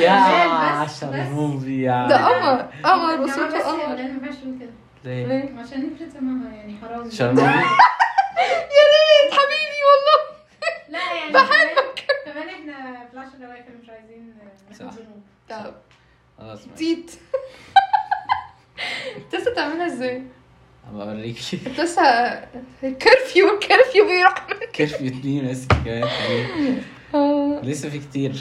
يا بس- بس. شرموبي يا ده قمر قمر بس وصوته يا قمر ولاد ما ينفعش نقول كده ليه؟ عشان نفرد سماها يعني حرام شرموبي يا ريت حبيبي والله لا يعني بحبك كمان احنا في العشر دقايق مش عايزين صح. ناخد ذنوب طب خلاص ماشي. تيت تسا تعملها ازاي؟ هبقى اوريكي تسا كرفيو كرفيو بيروح كيرفيو اتنين بس كمان حبيبي. لسه في كتير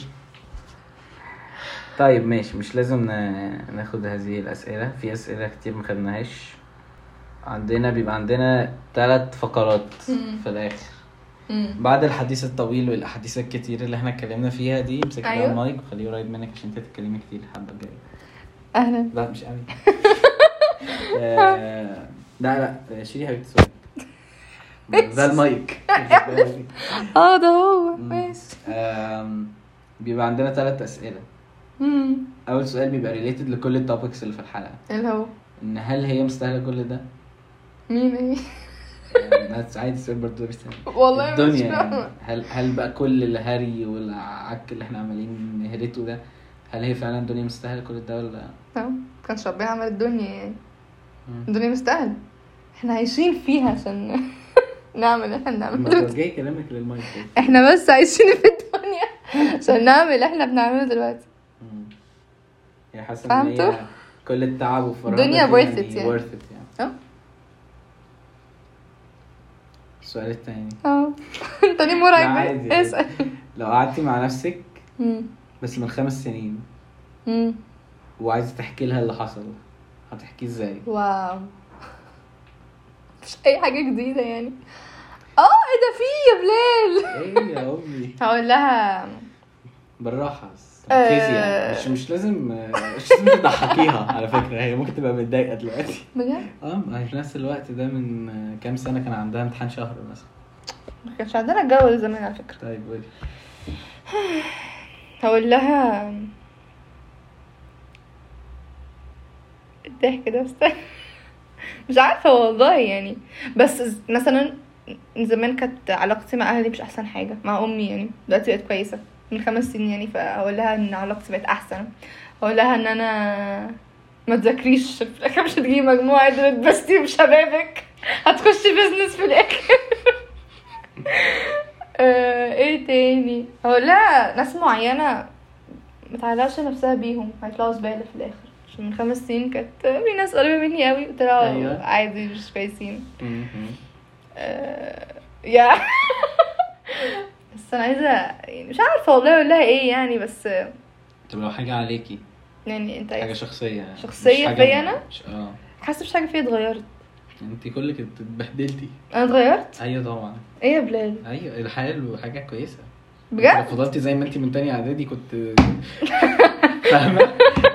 طيب ماشي مش لازم ن- ناخد هذه الأسئلة في أسئلة كتير ما خدناهاش عندنا بيبقى عندنا ثلاث فقرات مم. في الآخر مم. بعد الحديث الطويل والأحاديث الكتير اللي احنا اتكلمنا فيها دي امسك بقى أيوة. المايك وخليه قريب منك عشان انت تتكلمي كتير الحبة الجاية اهلا لا مش قوي آه، لا لا شيلي حبيبتي سوري ده المايك اه ده هو مم. ماشي آم، بيبقى عندنا ثلاث اسئله مم. اول سؤال بيبقى ريليتد لكل التوبكس اللي في الحلقه اللي هو ان هل هي مستاهله كل ده مين ايه؟ بس عادي السؤال برضه ده بيستاهل والله مش الدنيا فاهمة يعني هل هل بقى كل الهري والعك اللي احنا عمالين نهرته ده هل هي فعلا الدنيا مستاهله كل ده ولا نعم. كانش ربنا عمل الدنيا يعني مم. الدنيا مستاهل احنا عايشين فيها عشان نعمل اللي احنا ما بنعمله توجهي كلامك للمايك احنا بس عايشين في الدنيا عشان نعمل اللي احنا بنعمله دلوقتي مم. يعني حاسه ان فهمتوا؟ هي كل التعب والفراغ الدنيا ده worth it يعني. worth it يعني اه. السؤال التاني اه انت ليه لا عادي مرعب عادي. اسال لو قعدتي مع نفسك مم. بس من خمس سنين مم. وعايزه تحكي لها اللي حصل هتحكيه ازاي؟ واو مش اي حاجه جديده يعني اه ايه ده في يا بلال ايه يا امي هقول لها بالراحه بس آه. ركزي يعني مش مش لازم مش لازم تضحكيها على فكره هي ممكن تبقى متضايقه دلوقتي بجد اه ما هي في نفس الوقت ده من آه، كام سنه كان عندها امتحان شهر مثلا ما كانش عندنا الجو ده زمان على فكره طيب قولي هقول لها الضحك ده استنى مش عارفه والله يعني بس ز- مثلا زمان كانت علاقتي مع اهلي مش احسن حاجه مع امي يعني دلوقتي بقت كويسه من خمس سنين يعني فاقول لها ان علاقتي بقت احسن اقول لها ان انا ما تذاكريش في الاخر مش هتجيبي مجموعه عدل تبستي بشبابك هتخشي بيزنس في الاخر آه، ايه تاني اقول لها ناس معينه متعلقش نفسها بيهم هيطلعوا زباله في الاخر عشان من خمس سنين كانت في ناس قريبه مني قوي وطلعوا أيوة. عادي مش كويسين مهم. آه، يا بس انا عايزه يعني مش عارفه والله اقول لها ايه يعني بس طب لو حاجه عليكي يعني انت حاجه عايز- شخصيه شخصية مش حاجة- فيا أنا؟ مش- اه حاسه مش حاجه فيا اتغيرت انت كلك اتبهدلتي انا اتغيرت ايوه طبعا ايه يا بلال ايوه الحال حاجه كويسه بجد لو فضلتي زي ما انت من تاني اعدادي كنت فاهمه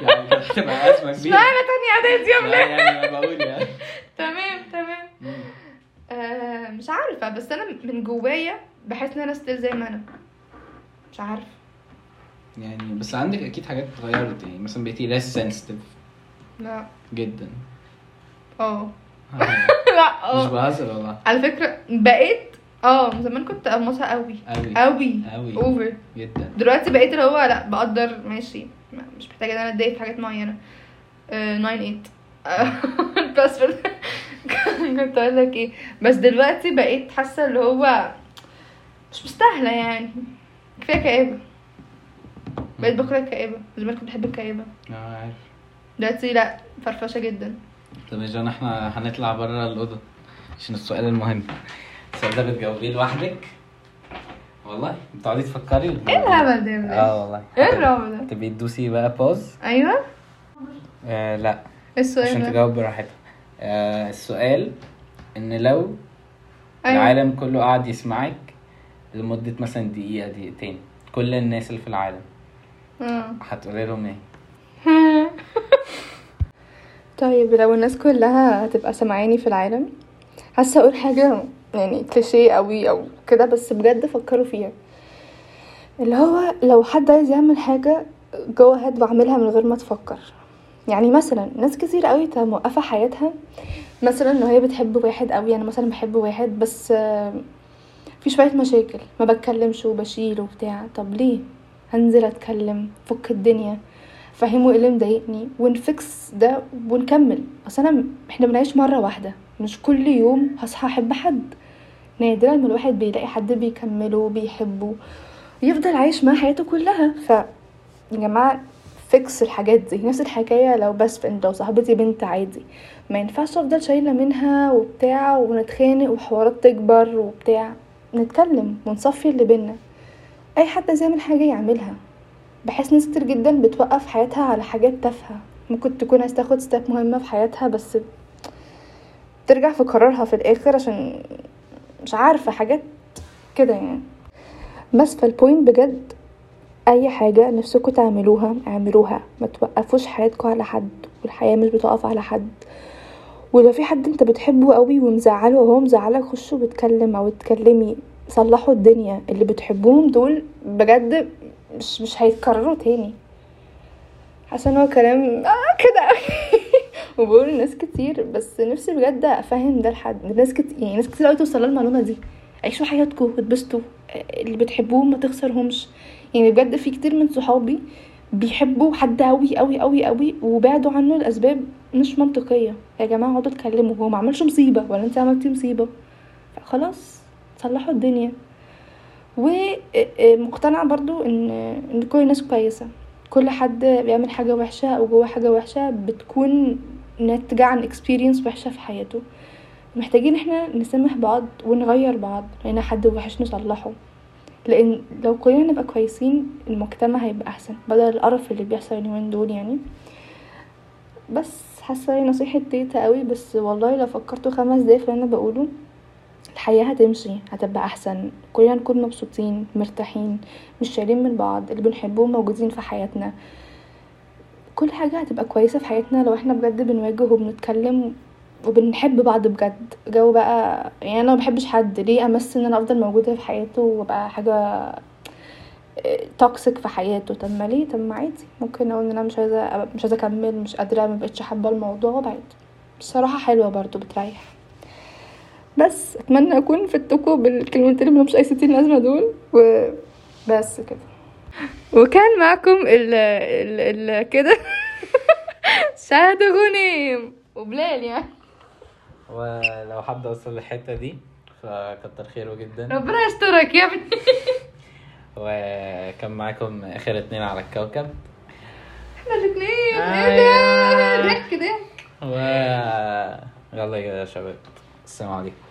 يعني كانت هتبقى ازمه كبيره انا تاني اعدادي يا لا، بلال يعني انا بقول يعني تمام تمام آه مش عارفه بس انا من جوايا بحس ان انا ستيل زي ما انا مش عارفه يعني بس عندك اكيد حاجات اتغيرت يعني مثلا بقيتي less sensitive لا جدا اه آه، لا مش اه بهزر والله على فكره بقيت اه زمان كنت قمصها قوي قوي قوي قوي اوفر جدا دلوقتي بقيت اللي هو لا بقدر ماشي ما- مش محتاجه ان انا اتضايق في حاجات معينه آه، 9 8 بس في- كنت اقول لك ايه بس دلوقتي بقيت حاسه اللي هو مش مستاهله يعني كفايه كئيبه بقيت بكره الكئيبه زمان كنت بحب الكئيبه اه عارف دلوقتي لا فرفشه جدا طب يا جان احنا هنطلع بره الاوضه عشان السؤال المهم السؤال ده بتجاوبيه لوحدك والله بتقعدي تفكري ايه الهبل ده يا بنات؟ اه والله ايه الرعب ده تبقي تدوسي بقى باوز ايوه آه لا إيه السؤال عشان ده تجاوب براحتها آه السؤال ان لو ايوه العالم كله قعد يسمعك لمدة مثلا دقيقة دقيقتين كل الناس اللي في العالم آه. هتقولي لهم ايه؟ طيب لو الناس كلها هتبقى سامعاني في العالم حاسه اقول حاجه يعني كليشيه قوي او كده بس بجد فكروا فيها اللي هو لو حد عايز يعمل حاجه جو هاد واعملها من غير ما تفكر يعني مثلا ناس كتير قوي تبقى موقفه حياتها مثلا لو هي بتحب واحد قوي انا مثلا بحب واحد بس آه، في شويه مشاكل ما بتكلمش وبشيل وبتاع طب ليه هنزل اتكلم فك الدنيا فهمه ايه اللي مضايقني ونفكس ده ونكمل اصل انا احنا بنعيش مره واحده مش كل يوم هصحى احب حد نادرا ما الواحد بيلاقي حد بيكمله وبيحبه ويفضل عايش معاه حياته كلها ف يا جماعه فيكس الحاجات دي نفس الحكايه لو بس انت لو صاحبتي بنت عادي ما ينفعش افضل شايله منها وبتاع ونتخانق وحوارات تكبر وبتاع نتكلم ونصفي اللي بينا اي حد عايز يعمل حاجه يعملها بحس ناس كتير جدا بتوقف حياتها على حاجات تافهة ممكن تكون عايز تاخد ستيب مهمة في حياتها بس ترجع في قرارها في الآخر عشان مش عارفة حاجات كده يعني بس فالبوينت بجد أي حاجة نفسكوا تعملوها اعملوها ما توقفوش حياتكوا على حد والحياة مش بتقف على حد ولو في حد انت بتحبه قوي ومزعله وهو مزعلك خشوا بتكلم او اتكلمي صلحوا الدنيا اللي بتحبوهم دول بجد مش مش هيتكرروا تاني حاسه ان هو كلام اه كده أوي. وبقول لناس كتير بس نفسي بجد افهم ده لحد ناس كتير يعني ناس كتير قوي توصل لها المعلومه دي عيشوا حياتكم واتبسطوا آه، اللي بتحبوهم ما تخسرهمش يعني بجد في كتير من صحابي بيحبوا حد قوي قوي قوي قوي وبعدوا عنه لاسباب مش منطقيه يا جماعه اقعدوا اتكلموا هو ما عملش مصيبه ولا انت عملتي مصيبه خلاص صلحوا الدنيا ومقتنعة برضو ان ان كل الناس كويسة كل حد بيعمل حاجة وحشة أو جواه حاجة وحشة بتكون ناتجة عن experience وحشة في حياته محتاجين احنا نسامح بعض ونغير بعض لقينا حد وحش نصلحه لأن لو كلنا نبقى كويسين المجتمع هيبقى أحسن بدل القرف اللي بيحصل اليومين دول يعني بس حاسة هي نصيحة تيتا قوي بس والله لو فكرتوا خمس دقايق في اللي أنا بقوله الحياة هتمشي هتبقى أحسن كلنا نكون مبسوطين مرتاحين مش شايلين من بعض اللي بنحبهم موجودين في حياتنا كل حاجة هتبقى كويسة في حياتنا لو احنا بجد بنواجه وبنتكلم وبنحب بعض بجد جو بقى يعني انا ما بحبش حد ليه امس ان انا افضل موجوده في حياته وابقى حاجه توكسيك في حياته طب ما ليه طب ما عادي ممكن اقول ان انا مش عايزه مش عايزه اكمل مش قادره ما بقتش حابه الموضوع وبعد بصراحه حلوه برضو بتريح بس اتمنى اكون فدتكم بالكلمتين اللي مش اي ستين لازمه دول وبس كده وكان معكم ال ال ال كده شهد غنيم وبلال يعني ولو حد وصل للحته دي فكتر خيره جدا ربنا يسترك يا ابني وكان معاكم اخر اتنين على الكوكب احنا الاثنين آه. ضحك ضحك و يلا يا شباب السلام عليكم